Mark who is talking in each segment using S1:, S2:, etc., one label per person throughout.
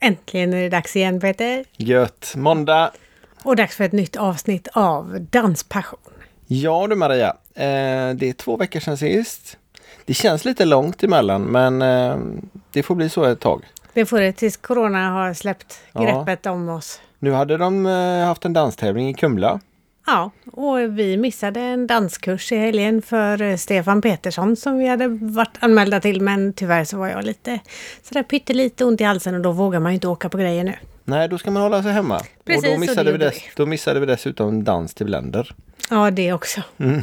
S1: Äntligen är det dags igen Peter!
S2: Gött! Måndag!
S1: Och dags för ett nytt avsnitt av Danspassion.
S2: Ja du Maria, eh, det är två veckor sedan sist. Det känns lite långt emellan men eh, det får bli så ett tag.
S1: Det får det tills Corona har släppt
S2: Ja.
S1: greppet om oss.
S2: Nu hade de eh, haft en danstävling i Kumla.
S1: Ja, och vi missade en danskurs i helgen för eh, Stefan Petersson som vi hade varit anmälda till men tyvärr så var jag lite sådär pyttelite ont i halsen och då vågar man ju inte åka på grejer nu.
S2: Nej, då ska man hålla sig hemma.
S1: Precis, och
S2: och då
S1: det
S2: missade, vi
S1: gjorde
S2: dess, då missade vi dessutom dans till bländer.
S1: Ja, det också.
S2: Mm.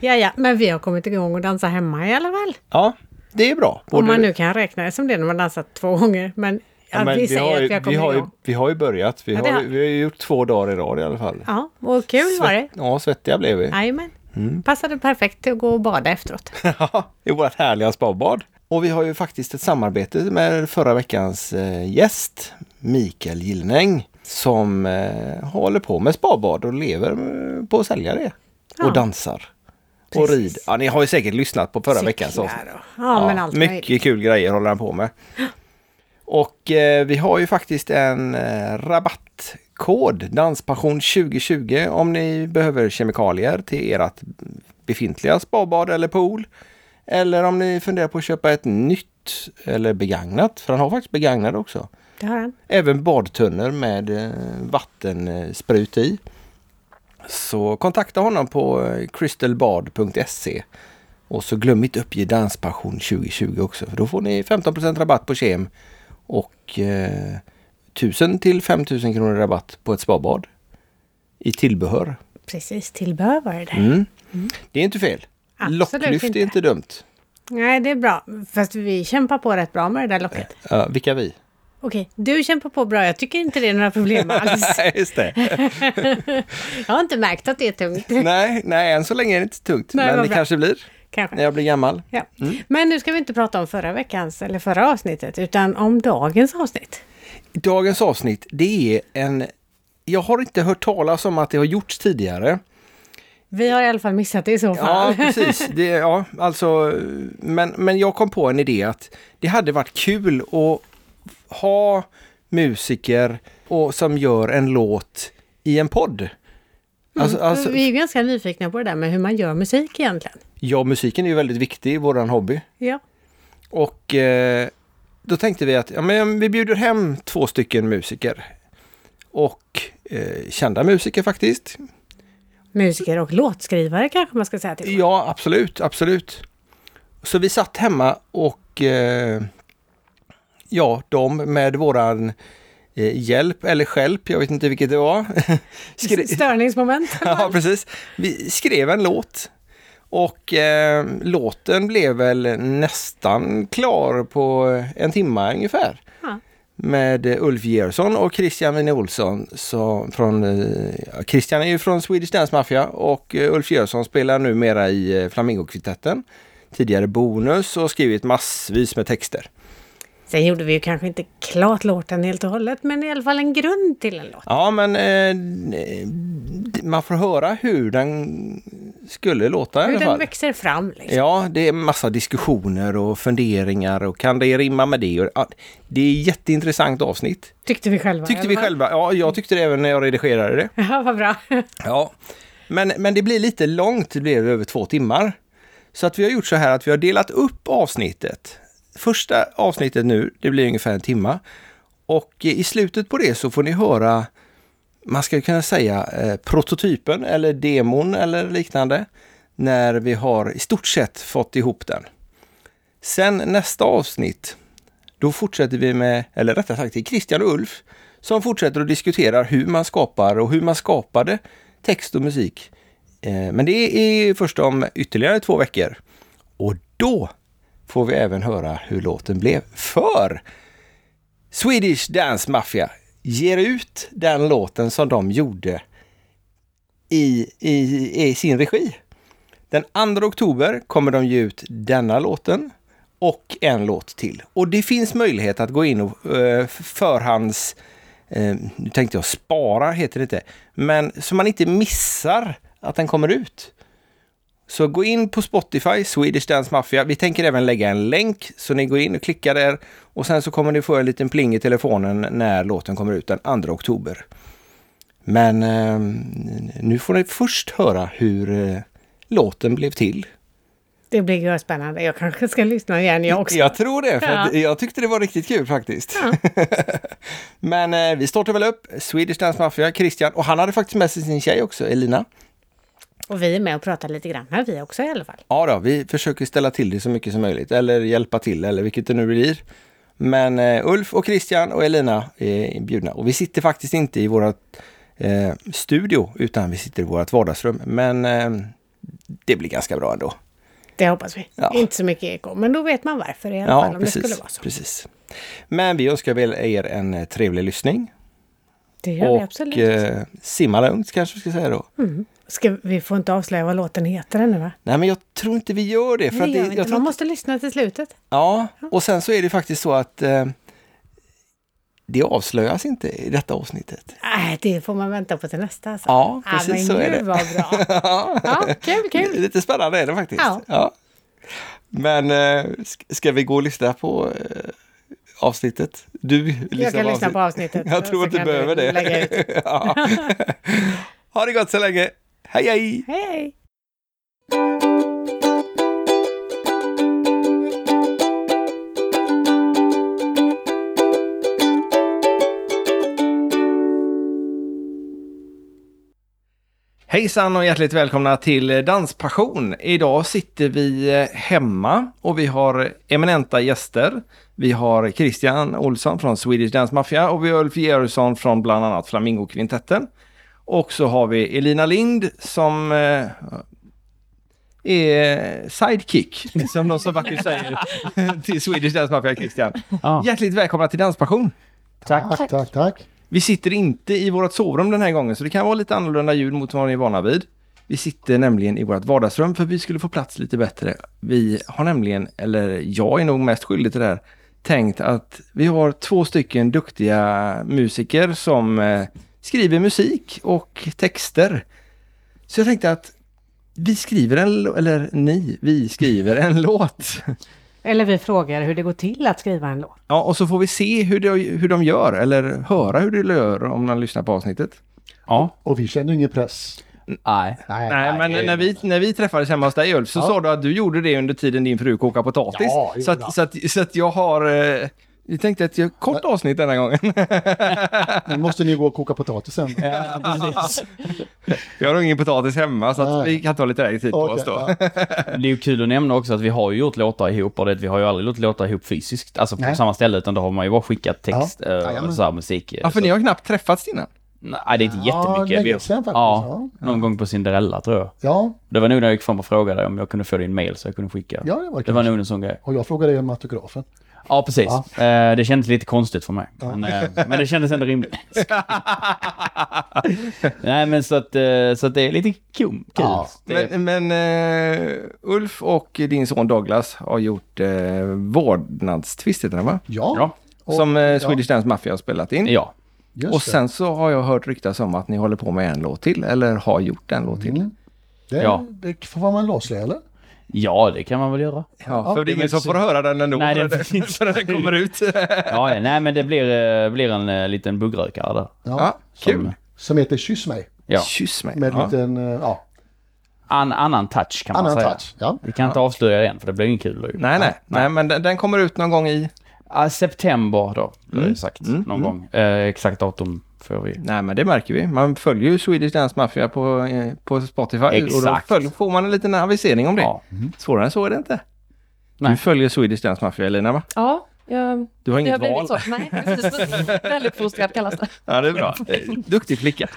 S1: Ja, ja, men vi har kommit igång och dansar hemma i alla fall.
S2: Ja, det är bra.
S1: Om
S2: Både-
S1: man nu kan räkna det som det när man dansat två gånger. Men, ja,
S2: Ja, men
S1: vi
S2: vi,
S1: säger
S2: har,
S1: att vi har
S2: ju- vi,
S1: kommit
S2: har ju,
S1: igång.
S2: vi har ju börjat. Vi,
S1: Ja, det
S2: har,
S1: har
S2: ju-
S1: vi.
S2: vi har ju gjort två dagar i rad i alla fall.
S1: Ja, och kul var det.
S2: Svett- Ja, svettiga blev vi.
S1: Jajamän.
S2: Mm.
S1: Passade perfekt till att gå och bada efteråt.
S2: Ja, i vårt härliga spabad. Och vi har ju faktiskt ett samarbete med förra veckans eh, gäst, Mikael Gillnäng, som eh, håller på med spabad och lever eh, på att sälja det.
S1: Ja.
S2: Och dansar. Och
S1: Precis.
S2: rid. Ja, ni har ju säkert lyssnat på förra
S1: Cyklar
S2: veckans avsnitt.
S1: och- ja, men allt
S2: mycket
S1: möjligt.
S2: kul grejer håller han på med. Och eh, vi har ju faktiskt en eh, rabattkod, Danspassion 2020, om ni behöver kemikalier till ert befintliga spabad eller pool. Eller om ni funderar på att köpa ett nytt eller begagnat, för han har faktiskt begagnade också.
S1: Det har han.
S2: Även badtunnor med eh, vattensprut i. Så kontakta honom på eh, crystalbad.se. Och så glöm inte uppge Danspassion 2020 också för då får ni 15% rabatt på kem och eh, 1000 till 5000 kronor rabatt på ett spabad. I tillbehör.
S1: Precis, tillbehör var det där.
S2: Mm. Det är inte fel.
S1: Absolut
S2: Locklyft
S1: inte.
S2: är inte dumt.
S1: Nej, det är bra. Fast vi kämpar på rätt bra med det där locket.
S2: Ja, vilka vi?
S1: Okej, du kämpar på bra. Jag tycker inte det är några problem alls.
S2: Nej, just det.
S1: Jag har inte märkt att det är tungt.
S2: nej, nej, än så länge är det inte tungt.
S1: Nej,
S2: men
S1: vad
S2: det
S1: bra.
S2: kanske blir när
S1: Kanske.
S2: jag blir gammal.
S1: Ja. Men nu ska vi inte prata om förra veckans eller förra avsnittet utan om dagens avsnitt.
S2: Dagens avsnitt, det är en... Jag har inte hört talas om att det har gjorts tidigare.
S1: Vi har i alla fall missat det i så
S2: Ja,
S1: fall.
S2: precis. Det, ja, alltså, men, men jag kom på en idé att det hade varit kul att ha musiker och, som gör en låt i en podd. Alltså, alltså,
S1: Vi är ju ganska nyfikna på det där med hur man gör musik egentligen.
S2: ja, musiken är ju väldigt viktig i våran hobby.
S1: Ja.
S2: Och eh, då tänkte vi att ja, men vi bjuder hem två stycken musiker. Och eh, kända musiker faktiskt.
S1: Musiker och låtskrivare kanske man ska säga till.
S2: Ja, absolut, absolut. Så vi satt hemma och eh, ja, de med våran eh, hjälp eller skälp, jag vet inte vilket det var. skre-
S1: Störningsmoment.
S2: ja, precis. Vi skrev en låt. Och eh, låten blev väl nästan klar på en timme ungefär.
S1: Ja.
S2: Med eh, Ulf Georgsson och Christian Wine Olsson. Så från, eh, ja, Christian är ju från Swedish Dance Mafia och eh, Ulf Georgsson spelar numera i eh, Flamingokvintetten. Tidigare Bonus och skrivit massvis med texter.
S1: Sen gjorde vi ju kanske inte klart låten helt och hållet, men i alla fall en grund till en låt.
S2: Ja, men eh, d- man får höra hur den skulle låta i
S1: Hur
S2: alla
S1: den
S2: fall.
S1: växer fram. Liksom.
S2: Ja, det är massa diskussioner och funderingar och kan det rimma med det? Och, ja, det är ett jätteintressant avsnitt.
S1: Tyckte vi själva.
S2: Tyckte
S1: eller
S2: vi
S1: vad?
S2: själva. Ja, jag tyckte det även när jag redigerade det.
S1: Ja, vad bra.
S2: Ja. Men, men det blir lite långt, det blev över två timmar. Så att vi har gjort så här att vi har delat upp avsnittet. Första avsnittet nu, det blir ungefär en timma. Och eh, i slutet på det så får ni höra, man ska ju kunna säga eh, prototypen eller demon eller liknande. När vi har i stort sett fått ihop den. Sen nästa avsnitt, då fortsätter vi med, eller rättare sagt det är Christian och Ulf som fortsätter att diskutera hur man skapar och hur man skapade text och musik. Eh, Men det är först om ytterligare två veckor. Och då får vi även höra hur låten blev. För Swedish Dance Mafia ger ut den låten som de gjorde i, i, i sin regi. Den 2 oktober kommer de ge ut denna låten och en låt till. Och det finns möjlighet att gå in och eh, förhands... Eh, nu tänkte jag spara, heter det inte. Men så man inte missar att den kommer ut. Så gå in på Spotify, Swedish Dance Mafia. Vi tänker även lägga en länk så ni går in och klickar där och sen så kommer ni få en liten pling i telefonen när låten kommer ut den 2 oktober. Men eh, nu får ni först höra hur eh, låten blev till.
S1: Det blir ju spännande. Jag kanske ska lyssna igen jag också.
S2: Jag tror det, för
S1: Ja.
S2: att jag tyckte det var riktigt kul faktiskt. Men eh, vi startar väl upp Swedish Dance Mafia, Christian, och han hade faktiskt med sig sin tjej också, Elina.
S1: Och vi är med och pratar lite grann här vi också i alla fall.
S2: Ja då, vi försöker ställa till det så mycket som möjligt, eller hjälpa till, eller vilket det nu blir. Men eh, Ulf och Christian och Elina är inbjudna. Och vi sitter faktiskt inte i våra eh, studio, utan vi sitter i vårt vardagsrum. Men eh, det blir ganska bra ändå.
S1: Det hoppas vi.
S2: Ja.
S1: Inte så mycket eko, men då vet man varför i alla fall om det skulle vara så.
S2: precis. Men vi önskar väl er en eh, trevlig lyssning.
S1: Det gör vi
S2: och
S1: absolut. Mm.
S2: eh, simma lugnt kanske vi ska säga då.
S1: Ska, vi får inte avslöja vad låten heter ännu va?
S2: Nej men jag tror inte vi gör det. För
S1: Det
S2: att det,
S1: gör
S2: jag
S1: vi inte.
S2: tror
S1: Man måste lyssna till slutet.
S2: Ja, och sen så är det faktiskt så att eh, det avslöjas inte i detta avsnittet.
S1: Nej, det får man vänta på till nästa. Alltså.
S2: Ja, precis
S1: men
S2: så är
S1: gud,
S2: det.
S1: vad bra. Ja, kul, kul.
S2: Lite spännande är det faktiskt.
S1: Ja.
S2: Men eh, sk- ska vi gå och lyssna på eh, avsnittet? Du lyssnar
S1: Jag kan
S2: på
S1: lyssna på avsnittet.
S2: Jag tror
S1: så
S2: att du
S1: kan
S2: behöver det.
S1: lägga ut.
S2: ja. ha det gott så länge. Hej hej!
S1: Hej, hej.
S2: Hejsan och hjärtligt välkomna till Danspassion. Idag sitter vi eh, hemma och vi har eminenta gäster. Vi har Christian Olsson från Swedish Dance Mafia och vi har Ulf Georgsson från bland annat Flamingokvintetten. Och så har vi Elina Lind som eh, är sidekick, som de så vackert säger, till Swedish Dance Mafia, Christian.
S3: Ja.
S2: Hjärtligt välkomna till Danspassion.
S3: Tack.
S4: Tack, tack, tack.
S2: Vi sitter inte i vårt sovrum den här gången, så det kan vara lite annorlunda ljud mot vad ni är vana vid. Vi sitter nämligen i vårt vardagsrum för vi skulle få plats lite bättre. Vi har nämligen, eller jag är nog mest skyldig till det här, tänkt att vi har två stycken duktiga musiker som eh, skriver musik och texter. Så jag tänkte att vi skriver en, lå- eller ni, vi skriver en låt.
S1: Eller vi frågar hur det går till att skriva en låt.
S2: Ja, och så får vi se hur de, hur de gör, eller höra hur de gör om man lyssnar på avsnittet.
S3: Ja.
S4: Och vi känner ingen press.
S3: Nej.
S2: Nej, men när vi, när vi träffades hemma hos dig Ulf så
S4: Ja.
S2: sa du att du gjorde det under tiden din fru kokade potatis.
S4: Ja,
S2: så,
S4: jodå.
S2: att, så, att, så att jag har... eh, Vi tänkte att jag kort avsnitt denna gången.
S4: Nu måste ni gå och koka potatisen.
S2: Jag har ingen potatis hemma så att
S4: Nej.
S2: vi kan ta lite längre tid på oss
S4: Okej,
S2: då.
S4: ja.
S3: Det är ju kul att nämna också att vi har ju gjort låtar ihop och det, vi har ju aldrig gjort låtar ihop fysiskt, alltså på
S4: Nej.
S3: samma ställe, utan då har man ju bara skickat text
S4: Ja.
S3: eh, och
S4: Jajamän.
S3: så här musik.
S2: Ja, för
S3: Så-
S2: ni har knappt träffats innan.
S3: Nej, det är inte
S4: Ja,
S3: jättemycket. Vi-
S4: länge sedan faktiskt,
S3: Ja, någon gång på Cinderella tror jag.
S4: Ja,
S3: Det var nog när jag gick fram och frågade om jag kunde få din mail så jag kunde skicka.
S4: ja, det var
S3: Det var
S4: kul.
S3: nog en sån grej.
S4: Och jag frågade er om autografen.
S3: Ja, precis. Eh, det kändes lite konstigt för mig. Men, eh, men det kändes ändå rimligt. Nej, men så att, eh, så att det är lite kum, kul.
S4: Ja.
S3: Det-
S2: Men, men eh, Ulf och din son Douglas har gjort eh, Vårdnadstvist heter den va?
S4: Ja,
S3: Ja.
S4: Och-
S2: Som eh,
S4: ja.
S2: Swedish Dance Mafia har spelat in.
S3: ja.
S4: just
S2: Och
S4: det.
S2: sen så har jag hört ryktas om att ni håller på med en låt till, eller har gjort en låt till.
S4: Mm. Det,
S3: Ja.
S4: det får man avslöja eller?
S3: Ja, det kan man väl göra.
S2: Ja, för det är ingen
S4: men
S2: som
S4: så-
S2: får höra den ändå
S3: Nej,
S2: förrän
S3: den
S2: den,
S3: finns
S2: förrän den kommer ut.
S3: Ja, ja, nej men det blir, eh, blir en eh, liten buggrökare där.
S4: Ja.
S2: ja, kul.
S3: Som-
S4: Som heter Kyss mig.
S3: Ja.
S2: Kyss mig.
S4: Med en
S2: ja.
S4: liten, eh, ja,
S3: An, annan touch kan man
S4: annan
S3: säga.
S4: touch. Ja.
S3: Vi kan inte avslöja den för det blir ingen kul. då ju.
S2: Nej, nej, nej, men den, den kommer ut någon gång i...
S3: Ah, september då, blir
S4: Mm.
S3: det sagt. någon gång. Eh, exakt datum får vi.
S2: Nej, men det märker vi. Man följer ju Swedish Dance Mafia på, eh, på Spotify. Och då
S3: Exakt.
S2: följ, får man en liten avisering om det.
S3: Ja.
S2: Svårare än så är det inte. Du
S3: Nej.
S2: följer Swedish Dance Mafia, Elina, va?
S5: Ja, jag,
S2: Du har
S5: det har
S2: inget val.
S5: blivit så. Nej, precis. Väluppfostrad kallas det.
S2: Ja, det är bra. Eh, Duktig flicka.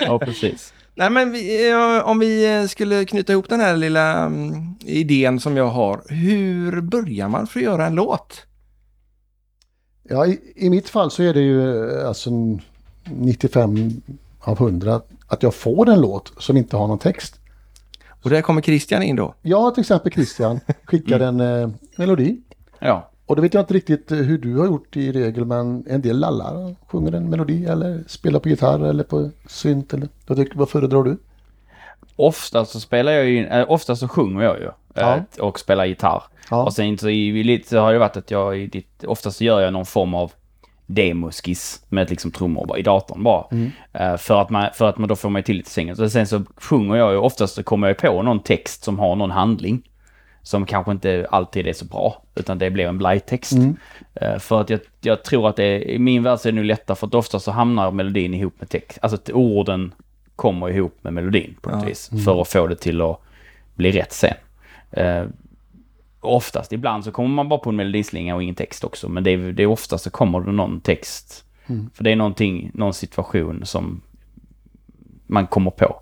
S3: ja, precis.
S2: Nej, men vi, eh, om vi eh, skulle knyta ihop den här lilla mm, idén som jag har. Hur börjar man för att göra en låt?
S4: Ja, i, i mitt fall så är det ju eh, alltså n- 95 av 100 att jag får en låt som inte har någon text.
S2: Och där kommer Christian in då.
S4: Jag till exempel Christian skickade en eh, melodi.
S3: Ja.
S4: Och det vet jag inte riktigt eh, hur du har gjort i regel, men en del lallar och sjunger en melodi eller spelar på gitarr eller på synt. Eller, vad tycker- vad föredrar du?
S3: oftast så spelar jag ju in, eh, oftast så sjunger jag ju. eh,
S4: Ja.
S3: Och spelar gitarr.
S4: Ja.
S3: Och sen så i, i lite så har det varit att jag i ditt, oftast gör jag någon form av demoskiss med liksom trummor bara, i datorn bara. Eh, för, att man, för att man då får mig till lite sängen. Så sen så sjunger jag ju, oftast så kommer jag på någon text som har någon handling. Som kanske inte alltid är så bra, utan det blir en blighttext. Eh, För att jag, jag tror att det är, i min värld så är det nu lättare för att ofta så hamnar melodin ihop med text. Alltså att orden kommer ihop med melodin på något vis. För att få det till att bli rätt sen. Eh, oftast, ibland så kommer man bara på en melodislinga och ingen text också. Men det är, det är oftast så kommer det någon text. För det är någonting, någon situation som man kommer på.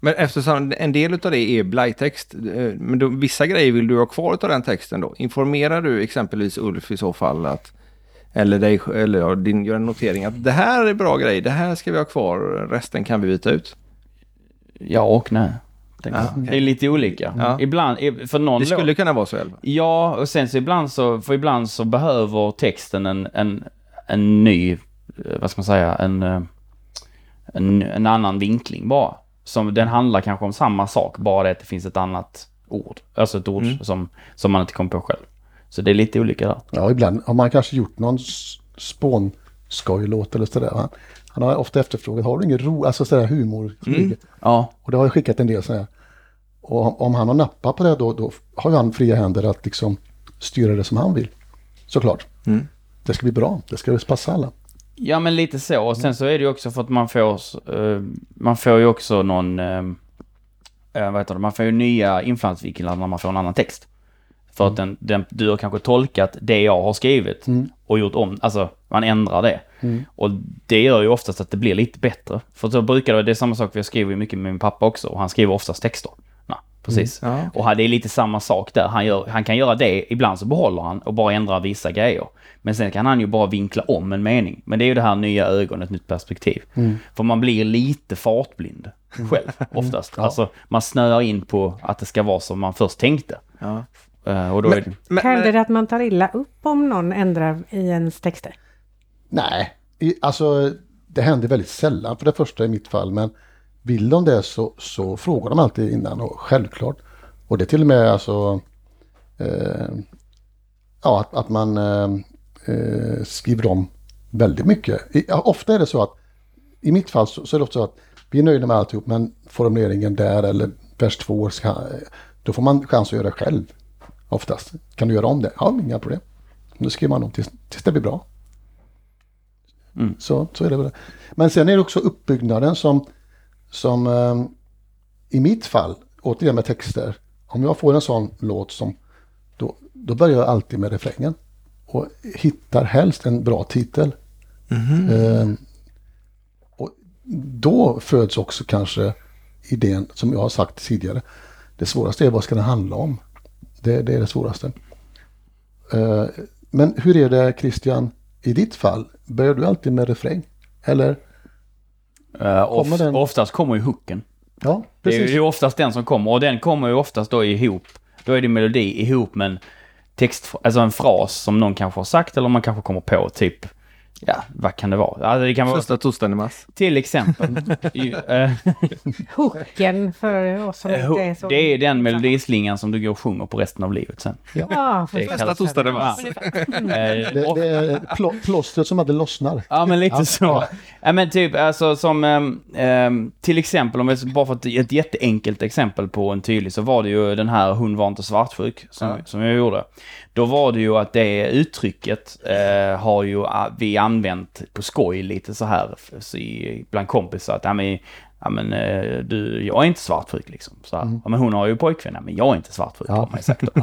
S2: Men eftersom en del av det är blightext, eh, men då, vissa grejer vill du ha kvar av den texten då? Informerar du exempelvis Ulf i så fall att, eller dig, eller ja, din, gör en notering att det här är bra grej, det här ska vi ha kvar, resten kan vi byta ut.
S3: Ja och nej. tänker
S2: Ja,
S3: jag.
S2: okej.
S3: Det är lite olika.
S2: Ja.
S3: Ibland, i- för någon
S2: Det
S3: låt-
S2: skulle kunna vara så, Elva.
S3: Ja, och sen så ibland så, för ibland så behöver texten en, en, en ny, eh, vad ska man säga, en, eh, en, en annan vinkling bara. Som, den handlar kanske om samma sak, bara det att det finns ett annat ord. Alltså ett ord som, som man inte kom på själv. Så det är lite olika där.
S4: Ja, ibland har man kanske gjort någon s- spånskojlåt eller sådär. Va? Han har ofta efterfrågat, har du ingen ro, alltså sådär humor?
S3: Ja,
S4: Och det har jag skickat en del sådär. Och om- om han har nappat på det då, då har ju han fria händer att liksom styra det som han vill. Såklart. Det ska bli bra, det ska passa alla.
S3: Ja men lite så. Och sen så är det ju också för att man får, eh, man får ju också någon, eh, eh, vad heter det, man får ju nya infallsvinklar när man får en annan text. För att
S2: Mm.
S3: den, den, du har kanske tolkat det jag har skrivit och gjort om, alltså man ändrar det.
S2: Mm.
S3: Och det gör ju oftast att det blir lite bättre. För så brukar det, det är samma sak, för jag skriver ju mycket med min pappa också och han skriver oftast texter. Nej, precis.
S2: Mm. Ja, okej.
S3: Och han- det är lite samma sak där. Han, gör, han kan göra det, ibland så behåller han och bara ändrar vissa grejer. Men sen kan han ju bara vinkla om en mening. Men det är ju det här nya ögonet, nytt perspektiv.
S2: Mm.
S3: För man blir lite fartblind själv oftast. Alltså man snöar in på att det ska vara som man först tänkte.
S2: Ja.
S3: Eh, och då är det...
S2: Men, men,
S1: Händer
S2: men,
S1: det att man tar illa upp om någon ändrar i ens texter?
S4: Nej, i, alltså det händer väldigt sällan för det första i mitt fall. Men vill de det så, så frågar de alltid innan och självklart. Och det är till och med alltså eh, ja, att, att man eh, eh, skriver om väldigt mycket. I, ja, ofta är det så att i mitt fall så, så är det ofta så att vi är nöjda med alltihop men formuleringen där eller vers två, ska, då får man chans att göra det själv. Oftast. Kan du göra om det? Ja, inga problem. Nu skriver man om tills, tills det blir bra. Så, så är det väl. Men sen är det också uppbyggnaden som, som eh, i mitt fall, återigen med texter, om jag får en sån låt som, då, då börjar jag alltid med refrängen. Och hittar helst en bra titel. Eh, och då föds också kanske idén, som jag har sagt tidigare, det svåraste är vad ska den handla om? Det, det är det svåraste. Eh, Men hur är det Christian, i ditt fall, börjar du alltid med refräng? Eller?
S3: Eh, of,
S4: Kommer den-
S3: Oftast kommer ju hooken.
S4: Ja,
S3: Det är ju det
S4: precis.
S3: är oftast den som kommer och den kommer ju oftast då ihop. Då är det melodi ihop med en text, alltså en fras som någon kanske har sagt eller man kanske kommer på typ, ja, vad kan det vara? Alltså det kan vara,
S2: första torsdagen i mars.
S3: till exempel. ju, eh,
S1: Hooken för oss som inte är så...
S3: det är den melodislingan som du går och sjunger på resten av livet sen.
S1: Ja, för
S3: Det
S1: fan.
S2: Första torsdagen i mars.
S3: Eh,
S4: Det,
S3: och-
S4: det är plå- plåstret som aldrig lossnar.
S3: Ja men lite så. Ja. men typ alltså som ehm, ehm, till exempel, om jag, bara för att ge ett jätteenkelt exempel på en tydlig så var det ju den här Hon var inte svartsjuk som, som jag gjorde. Då var det ju att det uttrycket eh, har ju ah, vi använt på skoj lite så här f- så i, bland kompisar att ja men, ja, men eh, du, jag är inte svartsjuk liksom. Så här. Ja, men hon har ju pojkvän, ja, men jag är inte svartsjuk har man ju sagt då.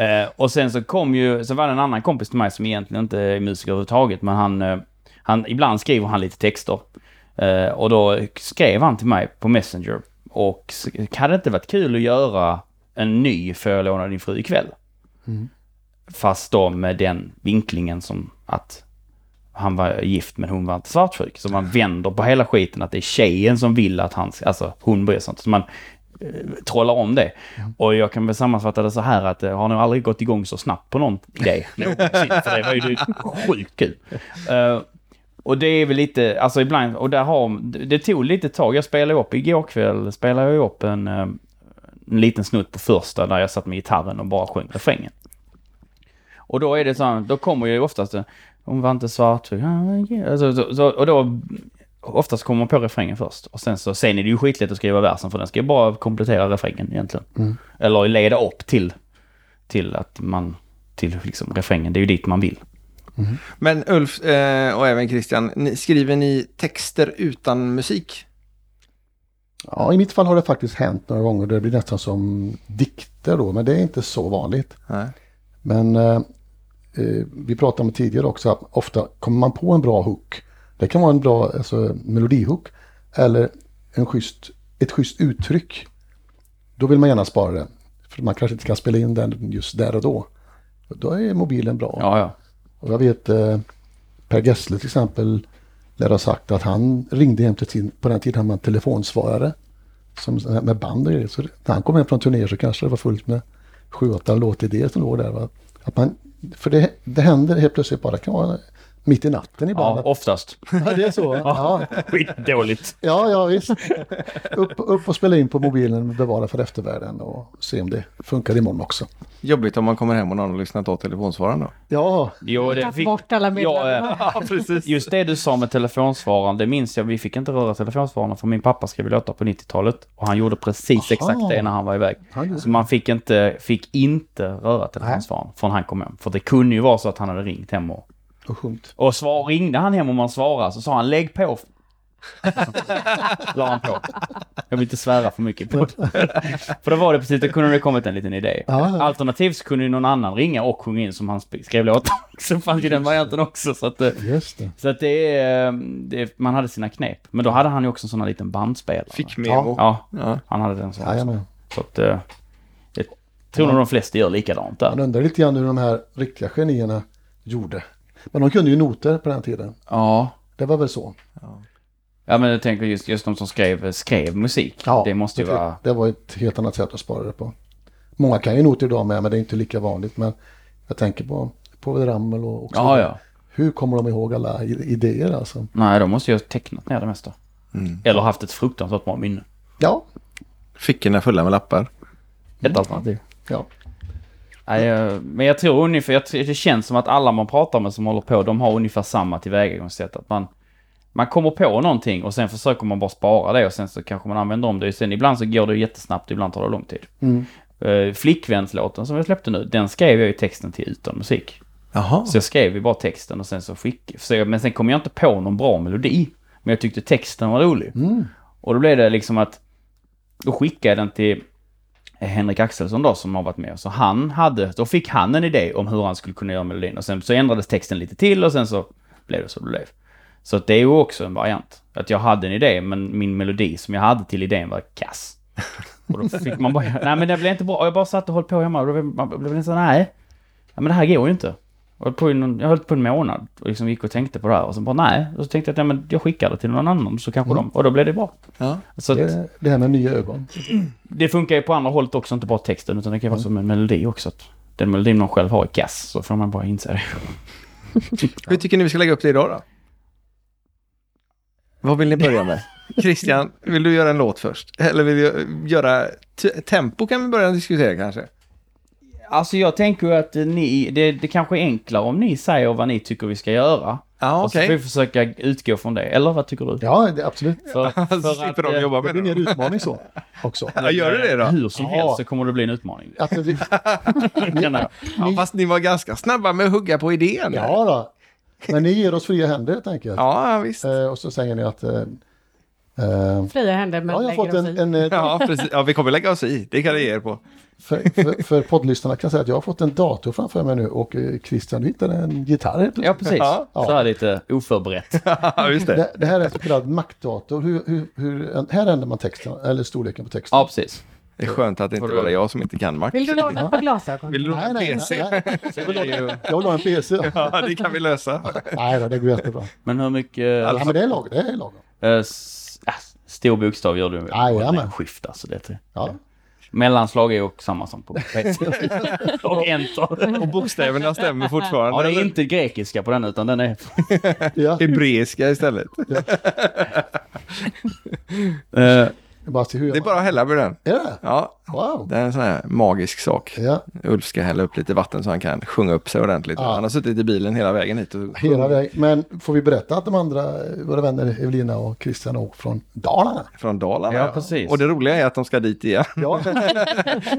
S3: eh, och sen så kom ju, så var det en annan kompis till mig som egentligen inte är musiker överhuvudtaget men han eh, han, ibland skriver han lite texter. Eh, och då skrev han till mig på Messenger. Och s- kan det inte varit kul att göra en ny Får jag låna din fru ikväll? Fast då med den vinklingen som att han var gift men hon var inte svartsjuk. Så man vänder på hela skiten att det är tjejen som vill att han, ska- alltså hon bryr sig inte. Så man eh, trollar om det. Och jag kan väl sammanfatta det så här att eh, har nog aldrig gått igång så snabbt på någon idé någonsin. För det var ju sjukt kul. Eh, Och det är väl lite, alltså ibland, och där har, det tog lite tag. Jag spelade upp, igår kväll spelade jag upp en, eh, en liten snutt på första där jag satt med gitarren och bara sjöng refrängen. Och då är det så här, då kommer ju oftast eh, hon var inte svartsjuk, alltså, så, så, och då oftast kommer man på refrängen först. Och sen så, sen är det ju skitlätt att skriva versen för den ska ju bara komplettera refrängen egentligen.
S4: Mm.
S3: Eller leda upp till, till att man, till liksom refrängen, det är ju dit man vill.
S4: Mm.
S2: Men Ulf eh, och även Christian, ni, skriver ni texter utan musik?
S4: Ja, i mitt fall har det faktiskt hänt några gånger. Det blir nästan som dikter då, men det är inte så vanligt.
S2: Nej.
S4: Men eh, eh, vi pratade om tidigare också, att ofta kommer man på en bra hook. Det kan vara en bra alltså, melodihook eller en schysst, ett schysst uttryck. Då vill man gärna spara den. För man kanske inte kan spela in den just där och då. Då är mobilen bra.
S3: Ja, ja.
S4: Och jag vet eh, Per Gessle till exempel lär ha sagt att han ringde hem till sin, på den tiden han var en telefonsvarare. Som, med band och grejer. Så det- när han kom hem från turnéer så kanske det var fullt med sju, åtta låtidéer som låg där. Va? Att man, för det, det händer helt plötsligt bara, det kan vara mitt i natten ibland.
S3: ja
S4: Ja,
S3: oftast.
S4: det är så. va? Ja,
S3: Skitdåligt.
S4: ja, ja visst. Upp, upp och spela in på mobilen och bevara för eftervärlden och se om det funkar imorgon också.
S2: Jobbigt om man kommer hem och någon har lyssnat av telefonsvararen då.
S4: Ja,
S3: Jo, det
S1: Tagit
S3: fick...
S1: bort alla
S3: Ja,
S1: meddelanden.
S3: eh, just det du sa med telefonsvararen, det minns jag. Vi fick inte röra telefonsvararna för min pappa skrev låtar på 90-talet och han gjorde precis
S4: Aha.
S3: exakt det när han var iväg.
S4: han gjorde
S3: Så man fick inte, fick inte röra telefonsvararen förrän han kom hem. För det kunde ju vara så att han hade ringt hem och...
S4: och sjungt.
S3: Och svar, ringde han hem och man svarade så sa han lägg på. La han på. Jag vill inte svära för mycket på det. För då var det precis, då kunde det kommit en liten idé.
S4: Ja, ja.
S3: Alternativt så kunde ju någon annan ringa och sjunga in som han sp- skrev låtar. Så fanns ju den varianten också. Så att, eh,
S4: Just det.
S3: så att det är... eh, Det, man hade sina knep. Men då hade han ju också en sån här liten bandspelare.
S2: Fick memo.
S3: Ja,
S2: Ja.
S3: han hade den sån. också.
S4: Jajamän.
S3: Så att... eh, Jag tror nog de flesta gör likadant där.
S4: Man undrar lite grann hur de här riktiga genierna gjorde. Men de kunde ju noter på den tiden.
S3: Ja.
S4: Det var väl så.
S3: Ja men jag tänker just, just de som skrev, skrev musik. det måste ju
S4: det-
S3: vara...
S4: Det var ett helt annat sätt att spara det på. Många kan ju noter idag med, men det är inte lika vanligt. Men jag tänker på, på Ramel och också.
S3: Ja, ja.
S4: Hur kommer de ihåg alla i- idéer alltså?
S3: Nej, de måste ju ha tecknat ner det mesta. Eller haft ett fruktansvärt bra minne.
S4: Ja,
S2: Fickorna fulla med lappar.
S3: Ett
S4: Mm.
S3: alternativ.
S4: ja.
S3: Nej, eh, men jag tror ungefär, jag, tror- det känns som att alla man pratar med som håller på, de har ungefär samma tillvägagångssätt. Att man, man kommer på någonting och sen försöker man bara spara det och sen så kanske man använder om det. Sen ibland så går det jättesnabbt, ibland tar det lång tid. Eh, Flickvänslåten som jag släppte nu, den skrev jag ju texten till utan musik.
S2: Jaha.
S3: Så jag skrev ju bara texten och sen så skickade så jag, Men sen kom jag inte på någon bra melodi. Men jag tyckte texten var rolig. Och då blev det liksom att... Då skickade jag den till Henrik Axelsson då som har varit med. Så han hade... Då fick han en idé om hur han skulle kunna göra melodin. Och sen så ändrades texten lite till och sen så blev det så det blev. Så att det är ju också en variant. Att jag hade en idé men min melodi som jag hade till idén var kass. Och då fick man bara... Nej men det blev inte bra. Och jag bara satt och höll på hemma och då blev man blev nästan... Nej. Ja, men det här går ju inte. Jag höll på i, någon, jag höll på en månad och liksom gick och tänkte på det här och sen bara nej. Och så tänkte jag att ja, men jag skickar det till någon annan så kanske
S2: Mm.
S3: de... Och då blev det bra.
S2: Ja.
S3: Så att,
S4: Det, det här med nya ögon.
S3: det funkar ju på andra hållet också, inte bara texten utan det kan vara
S2: Mm.
S3: som en melodi också. Att den melodin man själv har är kass, så får man bara inse det.
S2: Hur tycker ni vi ska lägga upp det idag då? Vad vill ni börja med? Christian, vill du göra en låt först? Eller vill du göra... t- Tempo kan vi börja diskutera kanske?
S3: Alltså jag tänker ju att ni, det, det kanske är enklare om ni säger vad ni tycker vi ska göra.
S2: Ja,
S3: Och så
S2: okej.
S3: får vi försöka utgå från det. Eller vad tycker du?
S4: Ja, det, absolut.
S3: För, för
S2: Så slipper de
S3: eh,
S2: jobba
S4: Det
S2: med
S4: blir mer
S2: det.
S4: utmaning så också.
S2: Ja, gör du det då?
S3: Hur som
S4: Ja.
S3: helst så kommer det bli en utmaning.
S4: Att det,
S3: Känner jag.
S2: Ja, fast ni var ganska snabba med att hugga på idén.
S4: ja då. Men ni ger oss fria händer helt enkelt.
S2: ja visst.
S4: Eh, och så säger ni att... Eh, eh,
S1: Fria händer men
S4: ja, jag har fått
S1: lägger oss
S4: en,
S1: i.
S4: en eh,
S2: Ja, precis. Ja, vi kommer lägga oss i. Det kan jag ge er på.
S4: För, för, för poddlyssnarna kan jag säga att jag har fått en dator framför mig nu och eh, Christian du hittade en gitarr. helt plötsligt.
S3: Ja, precis.
S2: Ja.
S3: Så här lite oförberett.
S2: Ja, just det.
S4: Det, det här är en så kallad Mac-dator. Hur, hur, hur, här ändrar man texten, eller storleken på texten.
S3: Ja, precis.
S2: Det är skönt att det inte bara är jag som inte kan Mac.
S1: Vill du låna ett par glasögon?
S2: Vill du ha en PC?
S4: nej, nej.
S3: Så är det ju-
S4: Jag vill ha en PC.
S2: Ja, det kan vi lösa.
S4: Nej då, det går jättebra.
S3: Men hur mycket...
S4: Ja, men det är lagom. Det är lagom.
S3: eh, s- äh, stor bokstav gör du.
S4: Jajamän.
S3: Skift alltså. Det är
S4: Ja.
S3: Mellanslag är ju också samma som på Och enter.
S2: Och bokstäverna stämmer fortfarande.
S3: Ja, det är inte grekiska på den utan den är...
S4: Ja,
S2: hebreiska istället.
S3: Eh,
S4: jag bara ser hur jag...
S2: Det är bara att hälla på den.
S4: Är det?
S2: Ja,
S4: Wow.
S2: det är en sån här magisk sak.
S4: Ja,
S2: Ulf ska hälla upp lite vatten så han kan sjunga upp sig ordentligt.
S4: Ja.
S2: Han har suttit i bilen hela vägen hit. Och...
S4: hela vägen. Men får vi berätta att de andra, eh, våra vänner Evelina och Christian har åkt från Dalarna?
S2: Från Dalarna.
S3: Ja, precis.
S2: Och det roliga är att de ska dit igen.
S4: Ja,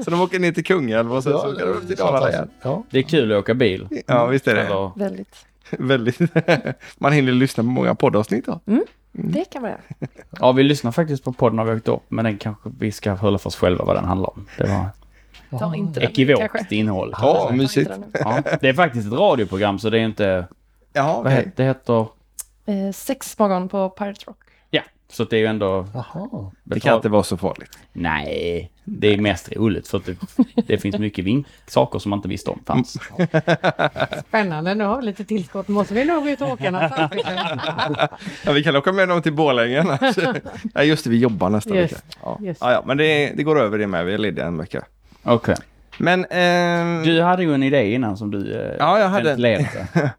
S2: Så de åker ner till Kungälv och sen så åker de upp till Dalarna igen.
S4: Ja,
S3: det är kul att åka bil.
S2: Ja, visst är det.
S3: Eller,
S5: Väldigt.
S2: Väldigt. Man hinner lyssna på många poddavsnitt då.
S4: Mm.
S1: Mm.
S5: Det kan man göra.
S3: ja, vi lyssnar faktiskt på podden när vi åkte upp, men den kanske vi ska hålla för oss själva vad den handlar om. Det var
S5: Ta inte den kanske.
S3: ekivokt innehåll.
S2: Ja,
S5: Ta inte
S2: mysigt.
S5: den
S3: Ja, det är faktiskt ett radioprogram så det är inte...
S2: Ja,
S3: Vad heter, det heter...
S5: nu. Eh, sex morgon på Pirate Rock.
S3: Ja, så att det är ju ändå...
S4: jaha.
S2: Det kan inte vara så farligt.
S3: Nej, det är mest roligt för att det, det finns mycket vink, saker som man inte visste om fanns.
S2: Mm.
S1: Spännande, nu har vi lite tillskott. Måste vi nog ut och åka någonstans?
S2: Ja, vi kan åka med dem till Borlänge annars. ja, just det, vi jobbar nästa
S1: Just,
S2: vecka. Ja.
S1: just.
S2: Ja, ja, men det, det går över det med. Vi är lediga en vecka.
S3: Okej.
S2: Men ehm,
S3: Du hade ju en idé innan som du eh,
S2: Ja, jag hade en.
S3: ventilerade.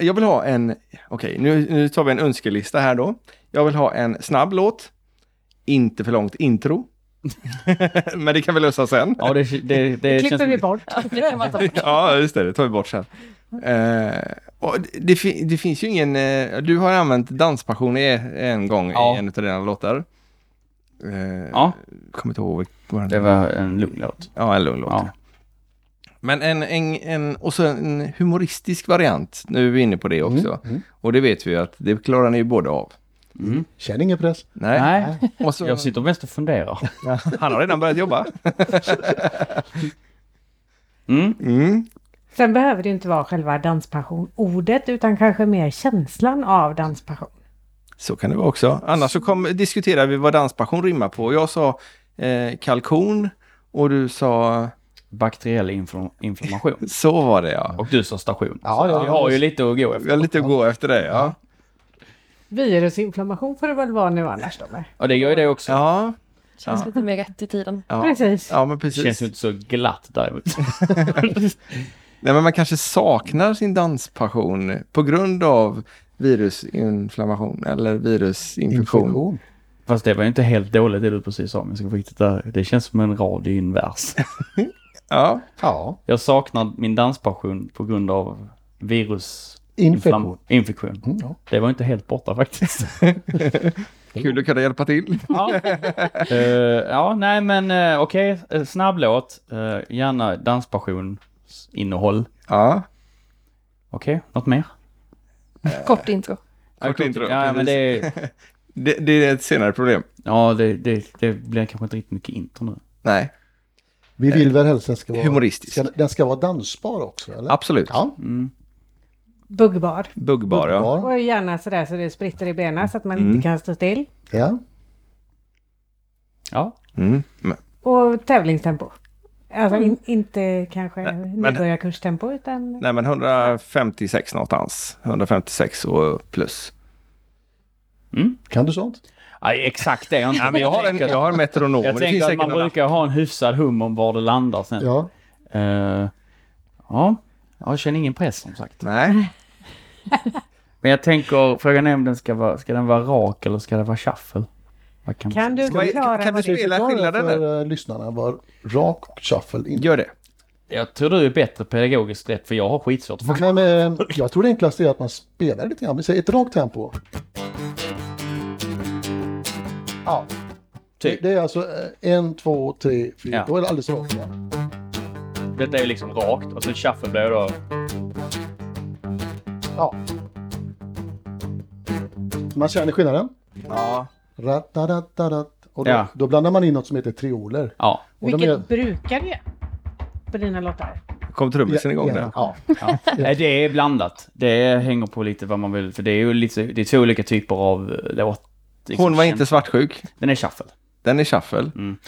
S2: jag vill ha en... Okej, nu, nu tar vi en önskelista här då. Jag vill ha en snabb låt. Inte för långt intro. men det kan vi lösa sen.
S3: Ja, det, det, det känns...
S1: klipper vi bort.
S5: Det kan man ta bort.
S2: Ja, just det. Det tar vi bort sen. Eh, och det- det, fi- det finns ju ingen... eh, du har använt Danspassion i- en gång
S3: Ja.
S2: i en av dina låtar. Eh,
S3: Ja,
S2: Kommer inte ihåg vad den
S3: det var en lugn låt.
S2: Ja, en lugn låt.
S3: Ja.
S2: Men en, en, en, och så en humoristisk variant. Nu är vi inne på det också. Och det vet vi ju att det klarar ni ju båda av.
S3: Mm.
S4: Känner ingen press.
S2: Nej.
S3: Nej,
S2: Och så,
S3: jag sitter mest och funderar.
S2: Han har redan börjat jobba.
S3: Mm.
S2: Mm.
S1: Sen behöver det ju inte vara själva danspassion-ordet utan kanske mer känslan av danspassion.
S2: Så kan det vara också. Annars så kom, diskuterade vi vad danspassion rimmar på. Jag sa eh, kalkon och du sa...
S3: Bakteriell infl- inflammation.
S2: Så var det ja.
S3: Och du sa station.
S4: Ja, ja,
S3: vi
S4: ja.
S3: har ju lite att gå efter.
S2: Vi har lite att gå efter det ja.
S1: Virusinflammation får det väl vara nu annars då? med.
S3: Och det gör ju det också.
S2: Ja,
S5: Känns lite mer rätt i tiden.
S2: ja.
S1: Precis.
S2: ja men
S3: Det känns
S2: precis.
S3: ju inte så glatt däremot.
S2: Nej, men man kanske saknar sin danspassion på grund av virusinflammation eller virusinfektion.
S4: Infektion.
S3: Fast det var ju inte helt dåligt det du precis sa, men ska vi titta. det känns som en rad i en vers.
S2: Ja,
S4: Ja,
S3: Jag saknar min danspassion på grund av virus...
S4: infektion.
S3: Infektion.
S4: Mm, ja.
S3: Det var inte helt borta faktiskt.
S2: kul att kunna hjälpa till.
S3: ja. Eh, ja, nej men uh, okej, eh, snabblåt, eh, gärna danspassionsinnehåll.
S2: Ja,
S3: Okej, något mer?
S2: Eh.
S5: Kort intro.
S2: Kort intro,
S3: Ja, men det,
S2: det, det är ett senare problem.
S3: ja det, det, det blir kanske inte riktigt mycket intro nu.
S2: Nej,
S4: Vi vill väl helst den ska vara...
S2: Humoristisk.
S4: Ska, den ska vara dansbar också, eller?
S2: absolut.
S4: Ja,
S1: Buggbar.
S2: Buggbar, ja.
S4: ja.
S1: Och gärna sådär så det spritter i benen så att man
S2: Mm.
S1: inte kan stå still.
S4: ja.
S3: Ja,
S2: Mm. Men,
S1: Och tävlingstempo. Alltså in, inte kanske
S2: Mm. men-
S1: nybörjarkurstempo utan...
S2: nej, men 156 någonstans. 156 och plus.
S4: Kan du sånt?
S3: nej, exakt det är jag inte.
S2: Men jag har en, jag har en metronom.
S3: Jag
S2: men det finns
S3: tänker att
S2: säkert
S3: man
S2: någon annan.
S3: brukar ha en hyfsad hum om var det landar sen. Ja.
S4: Ja.
S3: ja. Ja, jag känner ingen press som sagt.
S2: Nej,
S3: Men jag tänker, frågan är om den ska vara, ska den vara rak eller ska det vara shuffle? Vad kan
S1: Kan du
S2: Ska vi-
S1: förklara
S2: kan vi
S1: vad det
S2: spela?
S1: är?
S2: Hela
S4: Förklara
S2: skillnaden
S4: för eh, lyssnarna var rak och shuffle. In.
S2: gör det.
S3: Jag tror du är bättre pedagogiskt rätt för jag har skitsvårt att förklara.
S4: Nej, men, eh, jag tror det enklaste är att man spelar lite grann. Vi säger ett rakt tempo. Ja, det,
S3: Typ.
S4: det är alltså eh, en, två, tre, fyra.
S3: Ja.
S4: Då är det alldeles rakt. igen.
S3: Detta är ju liksom rakt och sen shuffle blir då...
S4: Ja. Man känner skillnaden.
S2: Ja.
S4: Rattaratarat. Och då,
S3: Ja.
S4: då blandar man in något som heter trioler.
S3: Ja.
S4: Och de
S1: Vilket
S4: är-
S1: brukar du göra på dina låtar?
S2: Kom trummisen igång
S4: Ja,
S2: där?
S4: Ja.
S3: Nej, Det är blandat. Det hänger på lite vad man vill. För det är ju lite, det är två olika typer av eh, låt. liksom.
S2: Hon var inte svartsjuk.
S3: Den är shuffle.
S2: Den är shuffle.
S3: Mm.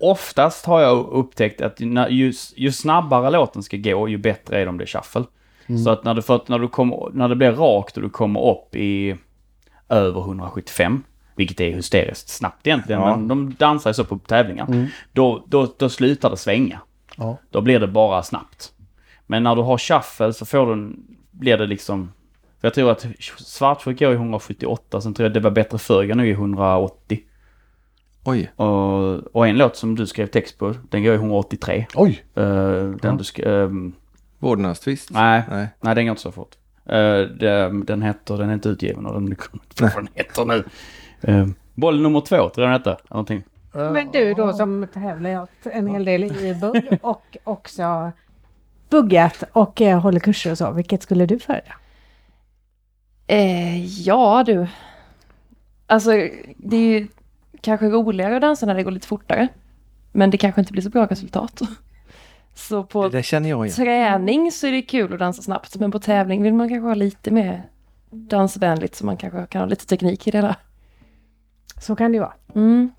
S3: Oftast har jag upptäckt att när, ju, ju snabbare låten ska gå, ju bättre är det om det är shuffle. Så att när, du, för att när, du kommer, när det blir rakt och du kommer upp i över 175, vilket är hysteriskt snabbt egentligen,
S2: Ja.
S3: men de dansar ju så på tävlingar. Då, då, då slutar det svänga.
S4: Ja.
S3: Då blir det bara snabbt. Men när du har shuffle så får du, en- blir det liksom... för Jag tror att Svartsjuk går i 178, sen tror jag Det var bättre förr går nu i 180.
S2: Oj.
S3: Och, och en låt som du skrev text på, den går i 183.
S4: Oj!
S3: Eh, den du sk- ehm,
S2: Vårdnadstvist?
S3: nej, nej.
S2: Nej.
S3: den går inte så fort. Eh, den, den heter, den är inte utgiven och den kommer inte på vad den heter nu. Eh, boll nummer två tror jag den hette. eller Någonting.
S1: Men du då som tävlar jag en hel del i bugg och också buggat och eh, håller kurser och så. Vilket skulle du föredra?
S5: Eh, ja du. Alltså det är ju kanske roligare att dansa när det går lite fortare. Men det kanske inte blir så bra resultat. Så
S2: Det
S5: på
S2: där känner jag igen.
S5: träning så är det kul att dansa snabbt. Men på tävling vill man kanske ha lite mer dansvänligt så man kanske kan ha lite teknik i det där.
S1: Så kan det ju vara.
S5: Mm.